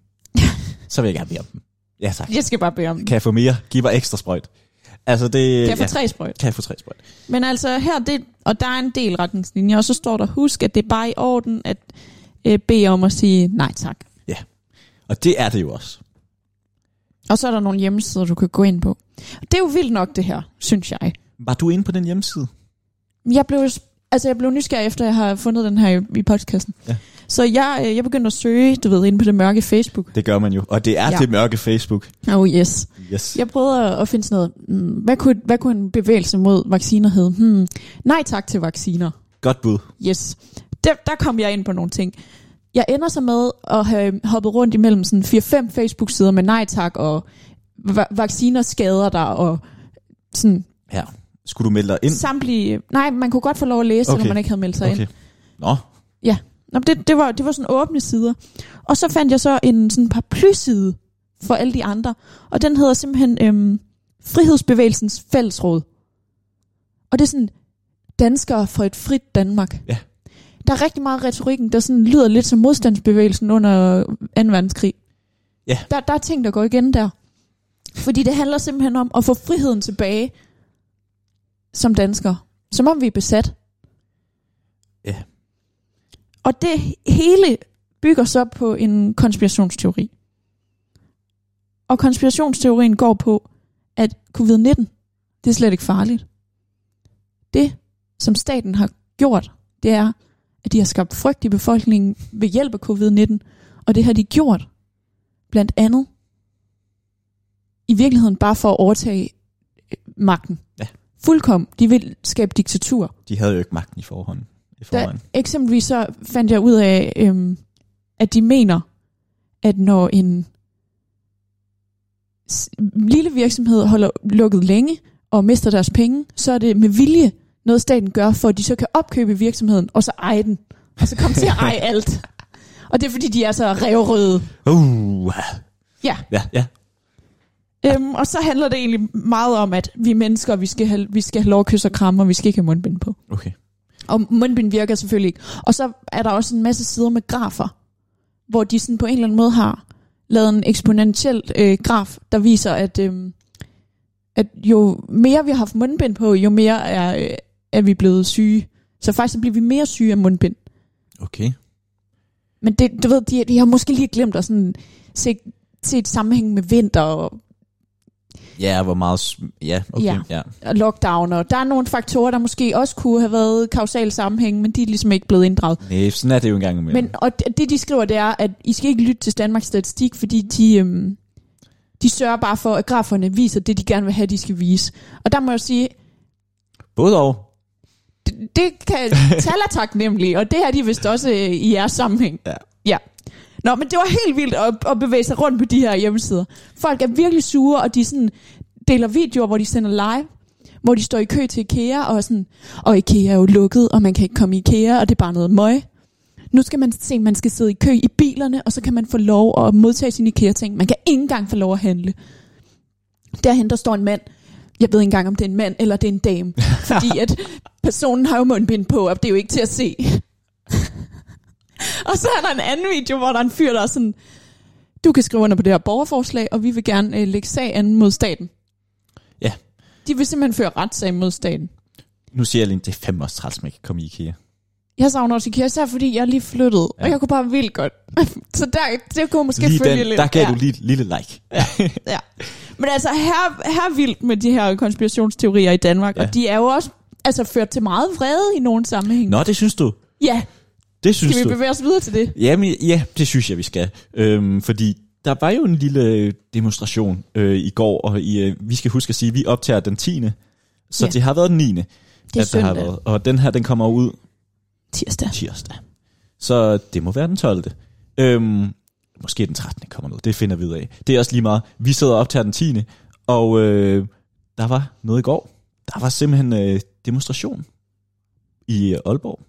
[SPEAKER 2] så vil jeg gerne bede om den. Ja tak.
[SPEAKER 1] Jeg skal bare bede om det.
[SPEAKER 2] Kan jeg få mere? Giv mig ekstra sprøjt. Altså det...
[SPEAKER 1] Kan jeg få
[SPEAKER 2] ja.
[SPEAKER 1] tre sprøjt?
[SPEAKER 2] Kan jeg få tre sprøjt?
[SPEAKER 1] Men altså her, det, og der er en del retningslinjer, og så står der, husk, at det er bare i orden at øh, bede om at sige nej tak.
[SPEAKER 2] Og det er det jo også.
[SPEAKER 1] Og så er der nogle hjemmesider, du kan gå ind på. Det er jo vildt nok det her, synes jeg.
[SPEAKER 2] Var du inde på den hjemmeside?
[SPEAKER 1] Jeg blev, altså jeg blev nysgerrig efter, at jeg har fundet den her i, i podcasten.
[SPEAKER 2] Ja.
[SPEAKER 1] Så jeg, øh, jeg begyndte at søge, du ved, inde på det mørke Facebook.
[SPEAKER 2] Det gør man jo. Og det er
[SPEAKER 1] Ja.
[SPEAKER 2] ja. det mørke Facebook.
[SPEAKER 1] Oh yes.
[SPEAKER 2] Yes.
[SPEAKER 1] Jeg prøvede at, at finde sådan noget, hmm, hvad, kunne, hvad kunne en bevægelse mod vacciner hedde? Hmm, nej tak til vacciner.
[SPEAKER 2] Godt bud.
[SPEAKER 1] Yes. Der, der kom jeg ind på nogle ting. Jeg ender så med at have hoppet rundt imellem sådan 4-5 Facebook-sider med nej tak, og va- vacciner skader dig, og sådan
[SPEAKER 2] Ja. Skulle du melde dig ind?
[SPEAKER 1] samtlige... Nej, man kunne godt få lov at læse, okay.
[SPEAKER 2] Okay.
[SPEAKER 1] når man ikke havde meldt sig okay. ind.
[SPEAKER 2] Okay. Nå,
[SPEAKER 1] Nå, men det, det, var, det var sådan åbne sider. Og så fandt jeg så en sådan paraplyside for alle de andre, og den hedder simpelthen øhm, Frihedsbevægelsens Fællesråd. Og det er sådan danskere for et frit Danmark.
[SPEAKER 2] Ja.
[SPEAKER 1] Der er rigtig meget af retorikken, der sådan lyder lidt som modstandsbevægelsen under 2. verdenskrig.
[SPEAKER 2] Ja.
[SPEAKER 1] Der, der er ting, der går igen der. Fordi det handler simpelthen om at få friheden tilbage som danskere. Som om vi er besat.
[SPEAKER 2] Ja.
[SPEAKER 1] Og det hele bygger så på en konspirationsteori. Og konspirationsteorien går på, at covid-19, det er slet ikke farligt. Det, som staten har gjort, det er, at de har skabt frygt i befolkningen ved hjælp af covid-19, og det har de gjort blandt andet i virkeligheden bare for at overtage øh, magten.
[SPEAKER 2] Ja.
[SPEAKER 1] Fuldkommen. De vil skabe diktatur.
[SPEAKER 2] de havde jo ikke magten i forhånd. I forhånd.
[SPEAKER 1] Eksempelvis så fandt jeg ud af, øhm, at de mener, at når en s- lille virksomhed holder lukket længe og mister deres penge, så er det med vilje noget, staten gør, for at de så kan opkøbe virksomheden og så eje den. Og så komme til at eje alt. Og det er fordi, de er så revrøde.
[SPEAKER 2] Uh.
[SPEAKER 1] Ja.
[SPEAKER 2] Ja, ja.
[SPEAKER 1] Øhm, og så handler det egentlig meget om, at vi mennesker, vi skal have, vi skal have lov at kysse og kramme, og vi skal ikke have mundbind på.
[SPEAKER 2] Okay.
[SPEAKER 1] Og mundbind virker selvfølgelig ikke. Og så er der også en masse sider med grafer, hvor de sådan på en eller anden måde har lavet en eksponentiel øh, graf, der viser, at, øh, at jo mere vi har haft mundbind på, jo mere er, øh, er vi blevet syge. Så faktisk så bliver vi mere syge af mundbind.
[SPEAKER 2] Okay.
[SPEAKER 1] Men det, du ved, de, de har måske lige glemt at sådan se, se et sammenhæng med vinter og,
[SPEAKER 2] Ja, hvor meget... sm- Ja, okay. Ja.
[SPEAKER 1] Ja.
[SPEAKER 2] ja.
[SPEAKER 1] og lockdown, og der er nogle faktorer, der måske også kunne have været kausal sammenhæng, men de er ligesom ikke blevet inddraget.
[SPEAKER 2] Næh, sådan er det jo engang imellem.
[SPEAKER 1] Men og det, det, de skriver, det er, at I skal ikke lytte til Danmarks Statistik, fordi de, øhm, de sørger bare for, at graferne viser det, de gerne vil have, de skal vise. Og der må jeg sige,
[SPEAKER 2] Både og.
[SPEAKER 1] det, det kan taler tak nemlig, og det har de vist også øh, i jeres sammenhæng.
[SPEAKER 2] Ja.
[SPEAKER 1] ja. Nå, men det var helt vildt at, at bevæge sig rundt på de her hjemmesider. Folk er virkelig sure, og de sådan deler videoer, hvor de sender live, hvor de står i kø til IKEA, og er sådan, og IKEA er jo lukket, og man kan ikke komme i IKEA, og det er bare noget møg. Nu skal man se, at man skal sidde i kø i bilerne, og så kan man få lov at modtage sine IKEA-ting. Man kan ikke engang få lov at handle. Derhen der står en mand, jeg ved ikke engang, om det er en mand eller det er en dame, fordi at personen har jo mundbind på, og det er jo ikke til at se. og så er der en anden video, hvor der er en fyr, der er sådan, du kan skrive under på det her borgerforslag, og vi vil gerne øh, lægge sag an mod staten.
[SPEAKER 2] Ja.
[SPEAKER 1] De vil simpelthen føre retssag mod staten.
[SPEAKER 2] Nu siger jeg lige, det er fem års træls, man kan komme i IKEA.
[SPEAKER 1] Jeg savner også IKEA, især fordi jeg er lige flyttede, ja.
[SPEAKER 2] Ja.
[SPEAKER 1] og jeg kunne bare vildt godt. så der, det kunne måske
[SPEAKER 2] Lige
[SPEAKER 1] følge
[SPEAKER 2] den,
[SPEAKER 1] lidt.
[SPEAKER 2] der gav
[SPEAKER 1] ja.
[SPEAKER 2] du lige et lille like.
[SPEAKER 1] Ja. Men altså, her, her er vildt med de her konspirationsteorier i Danmark,
[SPEAKER 2] Ja.
[SPEAKER 1] ja. og de er jo også altså, ført til meget vrede i nogle sammenhæng.
[SPEAKER 2] Nå, det synes du.
[SPEAKER 1] Ja,
[SPEAKER 2] Det synes
[SPEAKER 1] skal vi
[SPEAKER 2] du.
[SPEAKER 1] bevæge os videre til det?
[SPEAKER 2] Jamen, ja, det synes jeg, vi skal. Øhm, fordi der var jo en lille demonstration øh, i går, og i, øh, vi skal huske at sige, at vi optager den 10. Så ja.
[SPEAKER 1] Ja.
[SPEAKER 2] det har været den 9. Det
[SPEAKER 1] Det er
[SPEAKER 2] at der har
[SPEAKER 1] søndag,
[SPEAKER 2] været. Og den her, den kommer ud
[SPEAKER 1] tirsdag.
[SPEAKER 2] tirsdag. Så det må være den 12. Øhm, måske den 13. kommer noget, det finder vi ud af. Det er også lige meget. Vi sidder og optager den 10. Og øh, der var noget i går. Der var simpelthen øh, demonstration i øh, Aalborg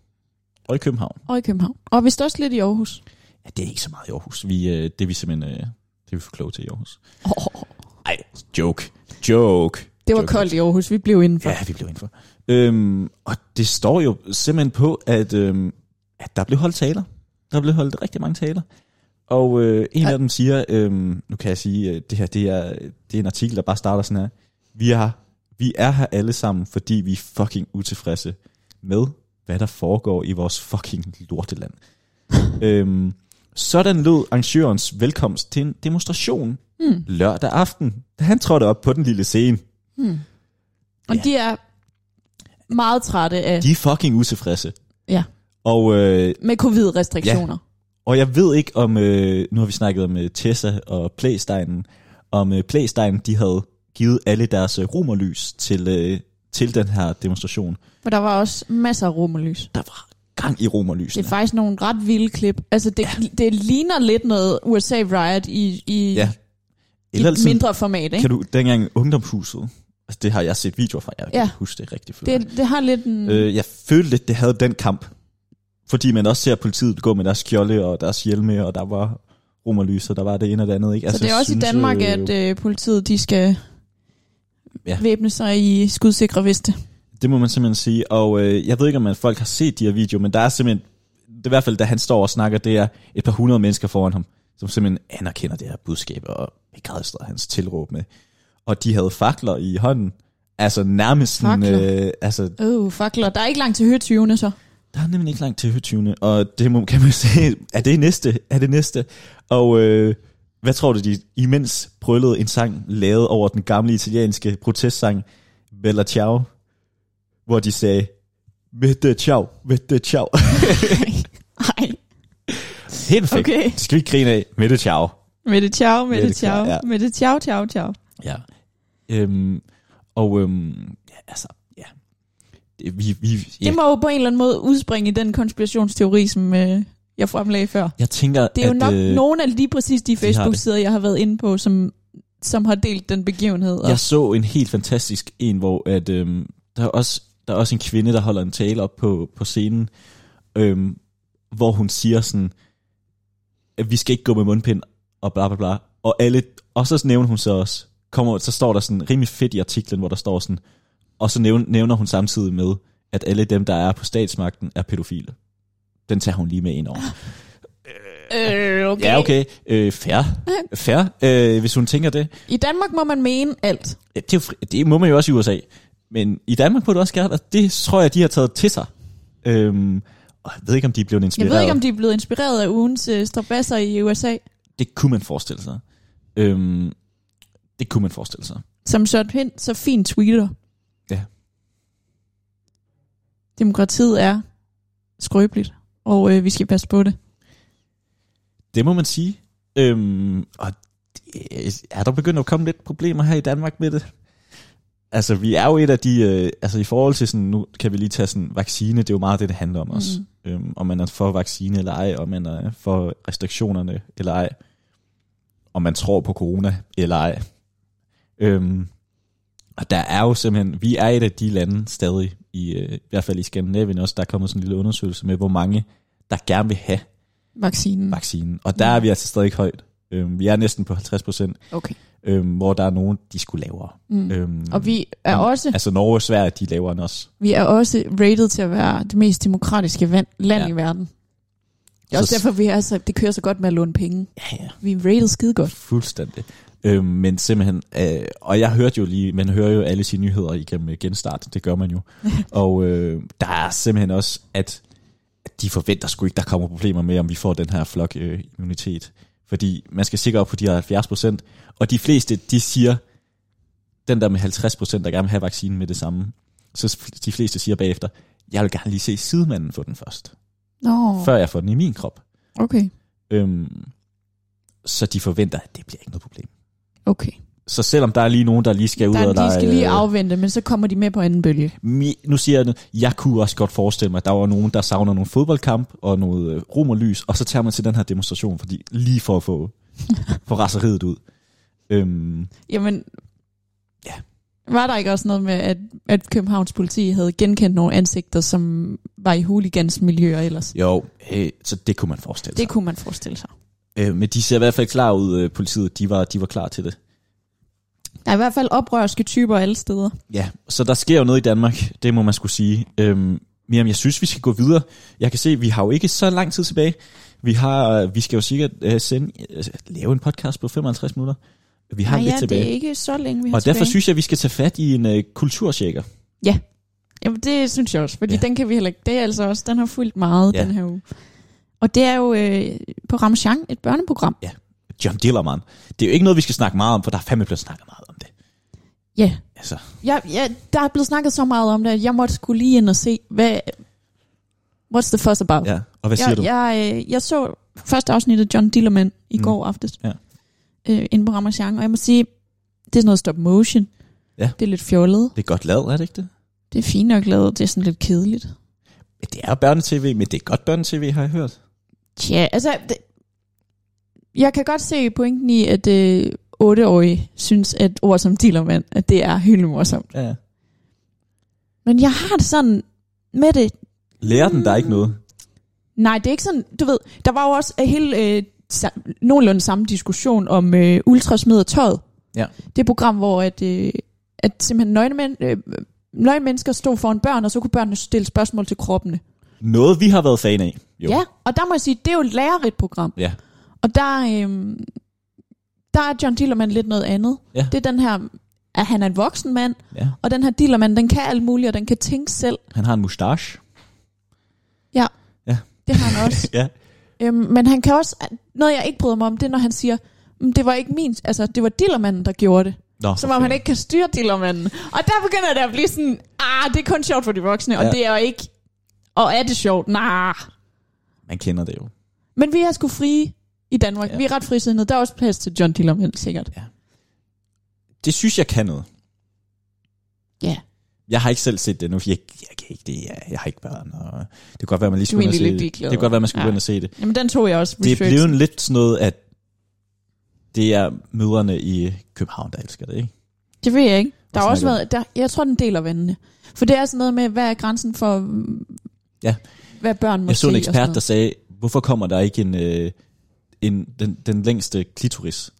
[SPEAKER 2] og i København.
[SPEAKER 1] Og i København. Og vist også lidt i Aarhus.
[SPEAKER 2] Ja, det er ikke så meget i Aarhus. Vi, øh, det er vi simpelthen øh, det er vi for kloge til i Aarhus.
[SPEAKER 1] Oh,
[SPEAKER 2] Ej, joke. Joke.
[SPEAKER 1] det var
[SPEAKER 2] Joke.
[SPEAKER 1] koldt i Aarhus, vi blev indenfor.
[SPEAKER 2] Ja, vi blev indenfor. Øhm, og det står jo simpelthen på, at, øhm, at der blev holdt taler. Der blev holdt rigtig mange taler. Og øh, en
[SPEAKER 1] Ej.
[SPEAKER 2] af dem siger, øhm, nu kan jeg sige, øh, det her det er, det er en artikel, der bare starter sådan her. Vi er, vi er her alle sammen, fordi vi er fucking utilfredse med, hvad der foregår i vores fucking lorteland. øhm, sådan lød arrangørens velkomst til en demonstration
[SPEAKER 1] Mm.
[SPEAKER 2] lørdag aften, da han trådte op på den lille scene.
[SPEAKER 1] Hmm. Og ja.
[SPEAKER 2] Ja.
[SPEAKER 1] de er meget trætte af,
[SPEAKER 2] De er fucking utilfredse.
[SPEAKER 1] Ja.
[SPEAKER 2] Og, øh,
[SPEAKER 1] med covid-restriktioner.
[SPEAKER 2] og jeg ved ikke om, øh, nu har vi snakket om øh, Tessa og Playsteinen, om øh, Playsteinen, de havde givet alle deres øh, romerlys til, øh, til den her demonstration.
[SPEAKER 1] For der var også masser af romerlys.
[SPEAKER 2] Der var gang i
[SPEAKER 1] Det
[SPEAKER 2] romerlysene.
[SPEAKER 1] er faktisk nogle ret vilde klip. Altså, det, ja. det ligner lidt noget USA Riot i, i,
[SPEAKER 2] Ja.
[SPEAKER 1] ja.
[SPEAKER 2] Eller
[SPEAKER 1] i
[SPEAKER 2] sådan,
[SPEAKER 1] mindre format, ikke?
[SPEAKER 2] kan du dengang ungdomshuset, altså det har jeg set videoer fra, jeg kan
[SPEAKER 1] Ja.
[SPEAKER 2] ikke huske det rigtig flot.
[SPEAKER 1] Det, det har lidt en... Øh,
[SPEAKER 2] Øh, jeg følte lidt, det havde den kamp. Fordi man også ser politiet gå med deres skjolde og deres hjelme, og der var romerlys, og der var det ene og det andet. Ikke?
[SPEAKER 1] altså, så det er
[SPEAKER 2] jeg
[SPEAKER 1] også synes, i
[SPEAKER 2] synes,
[SPEAKER 1] Danmark,
[SPEAKER 2] øh,
[SPEAKER 1] at øh, politiet de skal
[SPEAKER 2] Ja.
[SPEAKER 1] ja. væbne sig i skudsikre veste.
[SPEAKER 2] Det må man simpelthen sige, og øh, jeg ved ikke, om man, folk har set de her videoer, men der er simpelthen, det er i hvert fald, da han står og snakker, det er et par hundrede mennesker foran ham, som simpelthen anerkender det her budskab og begejstrer hans tilråb med. Og de havde fakler i hånden, altså nærmest sådan,
[SPEAKER 1] Fakler?
[SPEAKER 2] øh, altså,
[SPEAKER 1] Åh, oh, fakler. Der er ikke langt til højtyvene, så.
[SPEAKER 2] der er nemlig ikke langt til højtyvene, og det må, kan man se, er det næste, er det næste? Og øh, hvad tror du, de imens brøllede en sang, lavet over den gamle italienske protestsang, Bella Ciao, hvor de sagde, Vette ciao, vette ciao.
[SPEAKER 1] Nej.
[SPEAKER 2] Helt perfekt.
[SPEAKER 1] Okay.
[SPEAKER 2] Det skal vi ikke grine af. Mette ciao.
[SPEAKER 1] Med det ciao, med
[SPEAKER 2] Mette
[SPEAKER 1] det ciao.
[SPEAKER 2] Klar, ja.
[SPEAKER 1] Med det ciao, ciao, ciao.
[SPEAKER 2] Ja. Øhm, og øhm, ja, altså, ja. Det- Vi, vi, ja.
[SPEAKER 1] Det må jo på en eller anden måde udspringe i den konspirationsteori, som øh, jeg fremlagde før.
[SPEAKER 2] Jeg tænker,
[SPEAKER 1] Det er jo
[SPEAKER 2] at,
[SPEAKER 1] nok
[SPEAKER 2] øh,
[SPEAKER 1] nogle af lige præcis de
[SPEAKER 2] har det.
[SPEAKER 1] Facebook-sider, jeg har været inde på, som, som har delt den begivenhed. Og,
[SPEAKER 2] Jeg så en helt fantastisk en, hvor at, øhm, der, er også, der er også en kvinde, der holder en tale op på, på scenen, øhm, hvor hun siger sådan, at vi skal ikke gå med mundpind, og bla bla bla. Og, alle, og så nævner hun så også, kommer, så står der sådan rimelig fedt i artiklen, hvor der står sådan, og så nævner, nævner hun samtidig med, at alle dem, der er på statsmagten, er pædofile. Den tager hun lige med ind over.
[SPEAKER 1] Øh, okay.
[SPEAKER 2] Ja, okay. Øh, fair. Fair, øh, hvis hun tænker det.
[SPEAKER 1] I Danmark må man mene alt.
[SPEAKER 2] Ja, Det, er jo fri- det må man jo også i USA. Men i Danmark må du også gerne, og det tror jeg, de har taget til sig. Øhm, og jeg ved ikke, om de er blevet
[SPEAKER 1] Jeg
[SPEAKER 2] inspireret.
[SPEAKER 1] ved ikke, om de er blevet inspireret af ugens øh, strabasser i USA,
[SPEAKER 2] Det kunne man forestille sig. Øhm, det kunne man forestille sig.
[SPEAKER 1] som Søren Pind så fint tweeter.
[SPEAKER 2] Ja.
[SPEAKER 1] Demokratiet er skrøbeligt, og øh, vi skal passe på det.
[SPEAKER 2] Det må man sige. Øhm, og det- er der begyndt at komme lidt problemer her i Danmark med det? Altså, vi er jo et af de... Øh, altså, i forhold til sådan... Nu kan vi lige tage sådan... Vaccine, det er jo meget det, det handler om også.
[SPEAKER 1] Mm.
[SPEAKER 2] Mm. Øhm, om man er for vaccine eller ej, om man er for restriktionerne eller ej. Om man tror på corona eller ej. Øhm, og der er jo simpelthen... Vi er et af de lande stadig, i, øh, i hvert fald i Skandinavien også, der er kommet sådan en lille undersøgelse med, hvor mange der gerne vil have
[SPEAKER 1] Vaccinen.
[SPEAKER 2] vaccinen. Og der er vi altså stadig højt. Øhm, vi er næsten på 50 procent,
[SPEAKER 1] Okay.
[SPEAKER 2] øhm, hvor der er nogen, de skulle lavere.
[SPEAKER 1] Mm.
[SPEAKER 2] Øhm,
[SPEAKER 1] Og vi er
[SPEAKER 2] Mm.
[SPEAKER 1] også
[SPEAKER 2] Altså Norge og Sverige, de er lavere end os.
[SPEAKER 1] vi er også rated til at være det mest demokratiske van- land
[SPEAKER 2] Ja.
[SPEAKER 1] ja. i verden. Det er også
[SPEAKER 2] Så-
[SPEAKER 1] derfor, vi er så, det kører så godt med at låne penge.
[SPEAKER 2] Ja, ja.
[SPEAKER 1] Vi er rated skide godt.
[SPEAKER 2] Fuldstændig. Øhm, men simpelthen, øh, og jeg hørte jo lige, man hører jo alle sine nyheder igennem øh, genstart, det gør man jo. og øh, der er simpelthen også, at at de forventer sgu ikke, der kommer problemer med, om vi får den her flok øh, immunitet. Fordi man skal sikre op på de her 70 procent, og de fleste, de siger, den der med 50 procent, der gerne vil have vaccinen med det samme, så f- de fleste siger bagefter, jeg vil gerne lige se sidemanden få den først,
[SPEAKER 1] Nå,
[SPEAKER 2] før jeg får den i min krop.
[SPEAKER 1] okay.
[SPEAKER 2] Øhm, så de forventer, at det bliver ikke noget problem.
[SPEAKER 1] okay.
[SPEAKER 2] Så selvom der er lige nogen, der lige skal ud
[SPEAKER 1] Der,
[SPEAKER 2] og
[SPEAKER 1] de skal
[SPEAKER 2] øh,
[SPEAKER 1] lige afvente, men så kommer de med på anden bølge.
[SPEAKER 2] mi- nu siger jeg noget, jeg kunne også godt forestille mig, at der var nogen, der savner nogle fodboldkamp og noget øh, rum og lys, og så tager man til den her demonstration, fordi lige for at få, få raseriet ud. Øhm,
[SPEAKER 1] Jamen,
[SPEAKER 2] Ja.
[SPEAKER 1] var der ikke også noget med, at, at Københavns politi havde genkendt nogle ansigter, som var i huligansmiljøer ellers?
[SPEAKER 2] jo, øh, så det kunne man forestille sig.
[SPEAKER 1] Det kunne man forestille sig.
[SPEAKER 2] Øh, men de ser i hvert fald klar ud, øh, politiet, de var, de var klar til det.
[SPEAKER 1] Der er i hvert fald oprørske typer alle steder.
[SPEAKER 2] Ja, så der sker jo noget i Danmark, det må man skulle sige. Øhm, Miriam, jeg synes, vi skal gå videre. Jeg kan se, vi har jo ikke så lang tid tilbage. Vi har, vi skal jo sikkert øh, sende, øh, lave en podcast på 55 minutter. Vi har
[SPEAKER 1] Nej,
[SPEAKER 2] lidt
[SPEAKER 1] ja,
[SPEAKER 2] tilbage.
[SPEAKER 1] det er ikke så længe, vi har
[SPEAKER 2] Og derfor
[SPEAKER 1] tilbage.
[SPEAKER 2] synes jeg, vi skal tage fat i en øh, kulturshaker.
[SPEAKER 1] Jamen, det synes jeg også, fordi
[SPEAKER 2] Ja.
[SPEAKER 1] ja. den kan vi heller ikke. Det er altså også, den har fulgt meget
[SPEAKER 2] Ja.
[SPEAKER 1] ja. den her uge. Og det er jo øh, på Ramchang et børneprogram.
[SPEAKER 2] John Dillermand. Det er jo ikke noget, vi skal snakke meget om, for der er fandme blevet snakket meget om det.
[SPEAKER 1] Ja.
[SPEAKER 2] Altså,
[SPEAKER 1] Jeg, jeg, der er blevet snakket så meget om det, at jeg måtte skulle lige ind og se, hvad, what's the fuss about?
[SPEAKER 2] ja. Og hvad siger
[SPEAKER 1] jeg,
[SPEAKER 2] du?
[SPEAKER 1] Jeg, øh, jeg så første afsnit af John Dillermand i
[SPEAKER 2] Mm.
[SPEAKER 1] mm. går aftes.
[SPEAKER 2] Ja.
[SPEAKER 1] Øh, inde på Ramachan, og jeg må sige, det er sådan noget stop motion.
[SPEAKER 2] Ja.
[SPEAKER 1] Det er lidt fjollet.
[SPEAKER 2] Det er godt lavet, er det ikke det?
[SPEAKER 1] Det er fint nok lavet. Det er sådan lidt kedeligt.
[SPEAKER 2] Men Det er jo børnetv, men det er godt børnetv, har jeg hørt.
[SPEAKER 1] Tja, altså... Det, jeg kan godt se pointen i, at øh, 8-årige synes, at ord som Dillermand, at det er hyldemorsomt.
[SPEAKER 2] Ja.
[SPEAKER 1] Men jeg har det sådan med det.
[SPEAKER 2] Lærer den, der er ikke noget.
[SPEAKER 1] Nej, det er ikke sådan... Du ved, der var jo også hele... Øh, sam- nogenlunde samme diskussion om øh, ultrasmed og tøjet.
[SPEAKER 2] Ja.
[SPEAKER 1] det program, hvor at, øh, at simpelthen nøgne, men, øh, nøgne mennesker stod foran børn, og så kunne børnene stille spørgsmål til kroppene.
[SPEAKER 2] Noget, vi har været fan af. Jo.
[SPEAKER 1] Mm. Ja, og der må jeg sige, det er jo et lærerigt program.
[SPEAKER 2] Ja.
[SPEAKER 1] Og der, øh, der er John Dillermand lidt noget andet.
[SPEAKER 2] Ja.
[SPEAKER 1] Det er den her, at han er en voksen mand,
[SPEAKER 2] ja.
[SPEAKER 1] og den her Dillermand, den kan alt muligt, og den kan tænke selv.
[SPEAKER 2] Han har en mustache.
[SPEAKER 1] Det har han også.
[SPEAKER 2] Ja.
[SPEAKER 1] øhm, men han kan også, noget jeg ikke bryder mig om, det er, når han siger, "Mm, det var ikke min, altså det var Dillermanden, der gjorde det.
[SPEAKER 2] Nå,
[SPEAKER 1] Som om
[SPEAKER 2] for
[SPEAKER 1] han ikke kan styre dillermanden. Og der begynder det at blive sådan, ah, det er kun sjovt for de voksne, ja.
[SPEAKER 2] Ja.
[SPEAKER 1] og det er jo ikke... Og er det sjovt? Nej.
[SPEAKER 2] fanden. Man kender det jo.
[SPEAKER 1] Men vi er sgu frie i Danmark.
[SPEAKER 2] Ja.
[SPEAKER 1] Ja. Vi er ret frisindede. Der er også plads til John Dillermand, sikkert.
[SPEAKER 2] Det synes jeg kan noget.
[SPEAKER 1] Ja.
[SPEAKER 2] Jeg har ikke selv set det nu, for jeg, jeg kan ikke det. Jeg, jeg har ikke børn. Og det kan godt være, man
[SPEAKER 1] Du
[SPEAKER 2] lige
[SPEAKER 1] er
[SPEAKER 2] skulle ind og
[SPEAKER 1] egentlig
[SPEAKER 2] se
[SPEAKER 1] lidt
[SPEAKER 2] det.
[SPEAKER 1] ligeglad.
[SPEAKER 2] Det kan godt være, man skulle
[SPEAKER 1] Ja.
[SPEAKER 2] gå ind og se det.
[SPEAKER 1] Jamen, den tog jeg også.
[SPEAKER 2] Det er
[SPEAKER 1] research.
[SPEAKER 2] blevet lidt sådan noget, at det er møderne i København, der elsker det, ikke?
[SPEAKER 1] Det ved jeg ikke. Der har
[SPEAKER 2] Hvad
[SPEAKER 1] også
[SPEAKER 2] snakker
[SPEAKER 1] været... Der, jeg tror, den deler vandene. For det er sådan noget med, hvad er grænsen for... mm,
[SPEAKER 2] Ja.
[SPEAKER 1] Hvad børn må
[SPEAKER 2] Jeg så
[SPEAKER 1] se
[SPEAKER 2] en
[SPEAKER 1] og sådan
[SPEAKER 2] ekspert,
[SPEAKER 1] noget.
[SPEAKER 2] der sagde, hvorfor kommer der ikke en, øh, en den, den længste klitoris?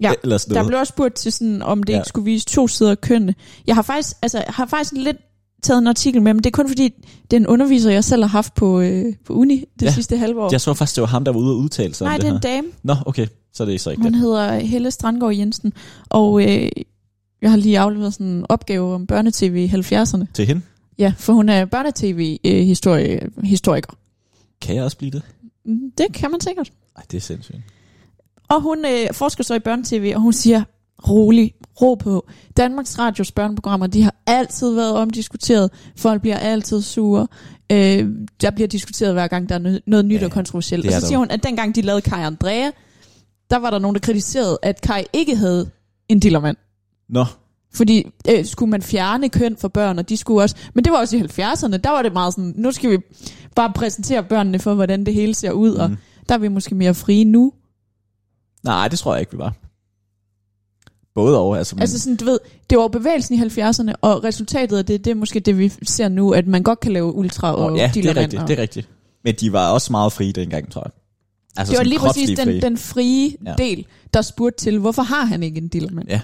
[SPEAKER 1] Ja,
[SPEAKER 2] Eller sådan
[SPEAKER 1] Der
[SPEAKER 2] noget.
[SPEAKER 1] blev også spurgt til sådan, om det
[SPEAKER 2] Ja.
[SPEAKER 1] ja. ikke skulle vise to sider af kønnene. Jeg har faktisk, altså, har faktisk lidt taget en artikel med, men det er kun fordi, det er en underviser, jeg selv har haft på, øh, på uni det
[SPEAKER 2] Ja.
[SPEAKER 1] ja. sidste halve år.
[SPEAKER 2] Jeg så faktisk, det var ham, der var ude og udtale sig
[SPEAKER 1] Nej,
[SPEAKER 2] om
[SPEAKER 1] det er en
[SPEAKER 2] det,
[SPEAKER 1] dame.
[SPEAKER 2] her. Nå, okay, så er det så ikke
[SPEAKER 1] Hun
[SPEAKER 2] det.
[SPEAKER 1] hedder Helle Strandgaard Jensen, og øh, jeg har lige afleveret sådan en opgave om børnetv i 70'erne.
[SPEAKER 2] Til hende
[SPEAKER 1] Ja, for hun er øh, børnetv-historiker.
[SPEAKER 2] kan jeg også blive det.
[SPEAKER 1] Mm, Det kan man sikkert.
[SPEAKER 2] Ej, det er sindssygt.
[SPEAKER 1] Og hun øh, forsker så i børnetv, og hun siger, rolig, ro på. Danmarks Radios børneprogrammer, de har altid været omdiskuteret. Folk bliver altid sure. Øh, der bliver diskuteret hver gang, der er nø- noget nyt
[SPEAKER 2] Ja,
[SPEAKER 1] ja, og kontroversielt.
[SPEAKER 2] det
[SPEAKER 1] Og
[SPEAKER 2] er
[SPEAKER 1] så
[SPEAKER 2] der
[SPEAKER 1] siger
[SPEAKER 2] jo.
[SPEAKER 1] hun, at dengang de lavede Kai og Andrea, der var der nogen, der kritiserede, at Kai ikke havde en dillermand.
[SPEAKER 2] Nå,
[SPEAKER 1] Fordi øh, skulle man fjerne køn for børn, og de skulle også... Men det var også i 70'erne, der var det meget sådan, nu skal vi bare præsentere børnene for, hvordan det hele ser ud, mm. og
[SPEAKER 2] Mhm.
[SPEAKER 1] der er vi måske mere frie nu.
[SPEAKER 2] nej, det tror jeg ikke, vi var. Både over, altså.
[SPEAKER 1] Mm.
[SPEAKER 2] men-
[SPEAKER 1] Altså sådan, du ved, det var jo bevægelsen i 70'erne, og resultatet af det, det er måske det, vi ser nu, at man godt kan lave ultra og
[SPEAKER 2] Åh, ja, det er
[SPEAKER 1] dillermand
[SPEAKER 2] rigtigt,
[SPEAKER 1] og-
[SPEAKER 2] det er rigtigt. Men de var også meget frie dengang, tror jeg. Altså
[SPEAKER 1] det var
[SPEAKER 2] sådan
[SPEAKER 1] lige præcis
[SPEAKER 2] kropsligt
[SPEAKER 1] den,
[SPEAKER 2] frie.
[SPEAKER 1] den frie
[SPEAKER 2] Ja.
[SPEAKER 1] ja. del, der spurgte til, hvorfor har han ikke en dillermand?
[SPEAKER 2] Ja.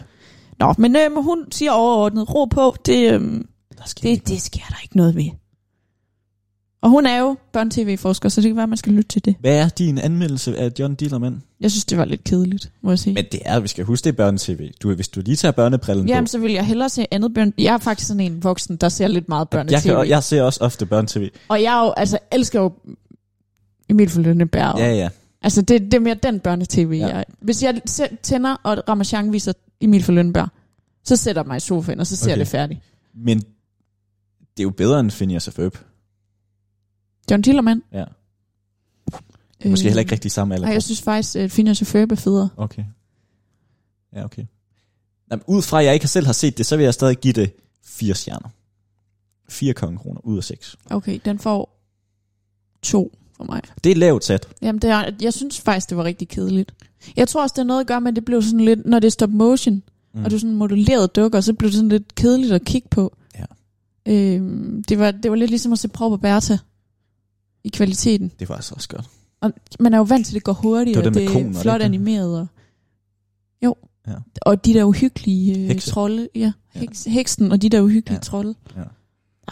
[SPEAKER 1] Nå, men øhm, hun siger overordnet, ro på, det, øhm,
[SPEAKER 2] Der sker ikke
[SPEAKER 1] det, det sker der ikke noget ved. Og hun er jo børn-tv-forsker, så det kan være, at man skal lytte til det.
[SPEAKER 2] noget. Hvad er din anmeldelse af John Dillermand?
[SPEAKER 1] Jeg synes, det var lidt kedeligt, må jeg sige.
[SPEAKER 2] Men det er, vi skal huske, det er børnetv. Du, hvis du lige tager børnebrillen
[SPEAKER 1] Jamen,
[SPEAKER 2] på.
[SPEAKER 1] så vil jeg hellere se andet børn. Jeg er faktisk sådan en voksen, der ser lidt meget
[SPEAKER 2] Jeg,
[SPEAKER 1] børnetv.
[SPEAKER 2] kan, jeg ser også ofte børnetv.
[SPEAKER 1] Og jeg er jo, altså, elsker jo Emil for Lønneberg.
[SPEAKER 2] Ja, ja.
[SPEAKER 1] Altså, det, det er mere den børnetv,
[SPEAKER 2] Ja.
[SPEAKER 1] ja. jeg... Hvis jeg se- tænder, og Ramachan viser Emil for Lønneberg, så sætter jeg mig i sofaen, og så ser
[SPEAKER 2] Okay.
[SPEAKER 1] okay. det færdigt.
[SPEAKER 2] Men det er jo bedre end Phineas og Ferb.
[SPEAKER 1] Øh. John Tillerman.
[SPEAKER 2] Ja. Måske heller ikke rigtig samme alder.
[SPEAKER 1] Nej, jeg synes faktisk, at Phineas og Ferb er federe.
[SPEAKER 2] Okay. Ja, okay. Jamen, ud fra, at jeg ikke selv har set det, så vil jeg stadig give det fire stjerner. Fire kongekroner ud af seks.
[SPEAKER 1] Okay, den får to for mig.
[SPEAKER 2] Det er lavt sat.
[SPEAKER 1] Jamen, det er, jeg synes faktisk, det var rigtig kedeligt. Jeg tror også, det er noget at gøre med, at det blev sådan lidt, når det er stop motion,
[SPEAKER 2] Mm.
[SPEAKER 1] mm. og du sådan modellerede dukker, så blev det sådan lidt kedeligt at kigge på.
[SPEAKER 2] Ja.
[SPEAKER 1] Øhm, det, var, det var lidt ligesom at se Prop og Bertha i kvaliteten.
[SPEAKER 2] Det var altså også godt.
[SPEAKER 1] Og man er jo vant til, at det går hurtigt,
[SPEAKER 2] Det var
[SPEAKER 1] og
[SPEAKER 2] det med
[SPEAKER 1] det
[SPEAKER 2] koen, var
[SPEAKER 1] er
[SPEAKER 2] det
[SPEAKER 1] flot
[SPEAKER 2] ikke det?
[SPEAKER 1] animeret. Og... Jo.
[SPEAKER 2] Ja.
[SPEAKER 1] Og de der uhyggelige øh,
[SPEAKER 2] Hekse.
[SPEAKER 1] trolde. Ja,
[SPEAKER 2] Ja.
[SPEAKER 1] heks, heksen og de der uhyggelige
[SPEAKER 2] Ja.
[SPEAKER 1] ja. trolde.
[SPEAKER 2] Ja.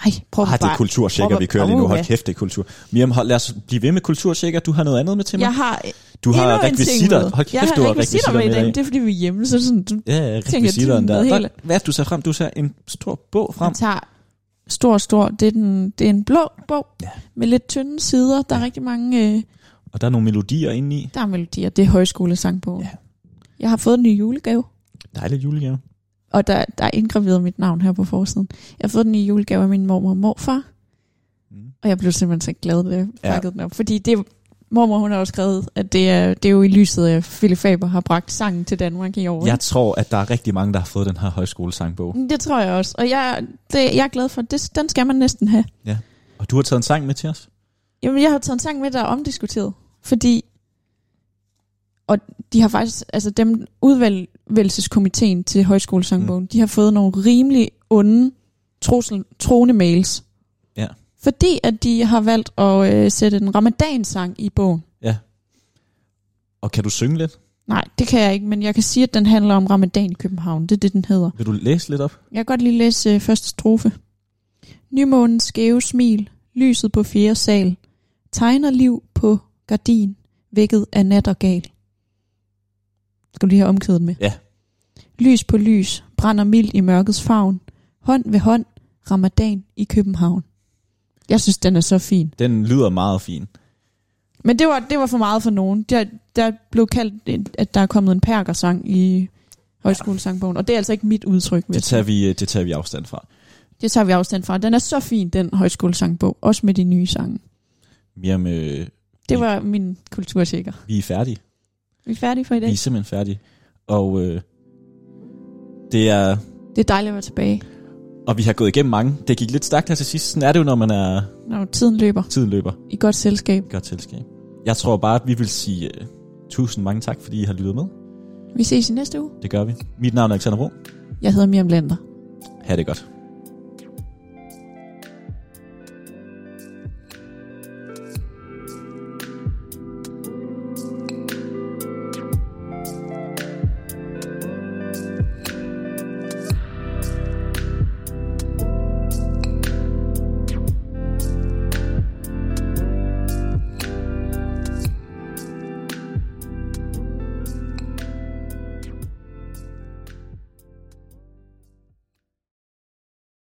[SPEAKER 1] Ej, prøv
[SPEAKER 2] Ah, det er kulturchecker, vi kører lige nu.
[SPEAKER 1] Prøv at-
[SPEAKER 2] Hold kæft, det er kultur. Miriam, hold, lad os blive ved med kulturchecker. Du har noget andet med til mig.
[SPEAKER 1] Jeg har
[SPEAKER 2] du har
[SPEAKER 1] endnu en ting
[SPEAKER 2] rekvisitter.
[SPEAKER 1] med.
[SPEAKER 2] Hold kæft,
[SPEAKER 1] jeg har
[SPEAKER 2] du har
[SPEAKER 1] rekvisitter med i dag.
[SPEAKER 2] dag.
[SPEAKER 1] Det er fordi, vi er hjemme, så sådan, du
[SPEAKER 2] Ja, ja,
[SPEAKER 1] tænker,
[SPEAKER 2] rekvisitteren
[SPEAKER 1] tiden
[SPEAKER 2] der.
[SPEAKER 1] med
[SPEAKER 2] Hvad,
[SPEAKER 1] hele.
[SPEAKER 2] hvad er det, du tager frem? Du tager en stor bog frem.
[SPEAKER 1] Jeg tager stor, stor. Det er, den, det er en blå bog
[SPEAKER 2] Ja.
[SPEAKER 1] ja. med lidt tynde sider. Der er rigtig mange... Øh,
[SPEAKER 2] Og der er nogle melodier inde i.
[SPEAKER 1] der er melodier. Det er højskolesangbogen.
[SPEAKER 2] Ja.
[SPEAKER 1] Ja. Jeg har fået en ny julegave,
[SPEAKER 2] Dejlig julegave.
[SPEAKER 1] og der, der er indgraveret mit navn her på forsiden. Jeg har fået en ny julegave af min mormor og morfar,
[SPEAKER 2] Mm.
[SPEAKER 1] og jeg blev simpelthen så glad, da jeg
[SPEAKER 2] Ja.
[SPEAKER 1] pakkede ja. den op. Fordi det, mormor hun har også skrevet, at det er, det er jo i lyset af, at Philip Faber har bragt sangen til Danmark i år.
[SPEAKER 2] Jeg tror, at der er rigtig mange, der har fået den her højskolesangbog.
[SPEAKER 1] ikke? Det tror jeg også, og jeg, det, jeg er glad for. Det, den skal man næsten have.
[SPEAKER 2] Og du har taget en sang med til os?
[SPEAKER 1] Jamen, jeg har taget en sang med, der er omdiskuteret, fordi... Og de har faktisk, altså dem udvalgelseskomiteen til højskolesangbogen, mm. de har fået nogle rimelig onde trussel, troende mails.
[SPEAKER 2] Ja.
[SPEAKER 1] Fordi at de har valgt at øh, sætte en ramadansang i bogen.
[SPEAKER 2] Og kan du synge lidt?
[SPEAKER 1] Nej, det kan jeg ikke, men jeg kan sige, at den handler om ramadan i København. Det er det, den hedder.
[SPEAKER 2] Vil du læse lidt op?
[SPEAKER 1] Jeg kan godt lige læse øh, første strofe. Nymånens skæve smil, lyset på fjerde sal, tegner liv på gardin, vækket af nat og gal. Skal du lige have omkædet den med?
[SPEAKER 2] Ja.
[SPEAKER 1] Lys på lys, brænder mild i mørkets favn, hånd ved hånd, ramadan i København. Jeg synes, den er så fin.
[SPEAKER 2] Den lyder meget fin.
[SPEAKER 1] Men det var, det var for meget for nogen. Der, der blev kaldt, at der er kommet en perkersang i højskolesangbogen, og det er altså ikke mit udtryk. vil
[SPEAKER 2] Det
[SPEAKER 1] jeg
[SPEAKER 2] tager vi, øh, det tager vi afstand fra.
[SPEAKER 1] Det tager vi afstand fra. Den er så fin, den højskolesangbog. Også med de nye sange.
[SPEAKER 2] Miriam, øh,
[SPEAKER 1] Det var min kulturtjekker.
[SPEAKER 2] vi er færdige.
[SPEAKER 1] Mm. Vi er færdige for i dag.
[SPEAKER 2] Vi er simpelthen færdige. Og øh, det er...
[SPEAKER 1] Det er dejligt at være tilbage,
[SPEAKER 2] Og vi har gået igennem mange. Det gik lidt stærkt her til sidst. Sådan er det jo, når man er
[SPEAKER 1] når tiden løber
[SPEAKER 2] tiden løber.
[SPEAKER 1] i godt selskab.
[SPEAKER 2] Godt selskab. Jeg tror bare, at vi vil sige øh, tusind mange tak, fordi I har lyttet med.
[SPEAKER 1] Vi ses i næste uge.
[SPEAKER 2] Det gør vi. Mit navn er Alexander Bro.
[SPEAKER 1] Jeg hedder Miriam Lander.
[SPEAKER 2] Ha' det godt.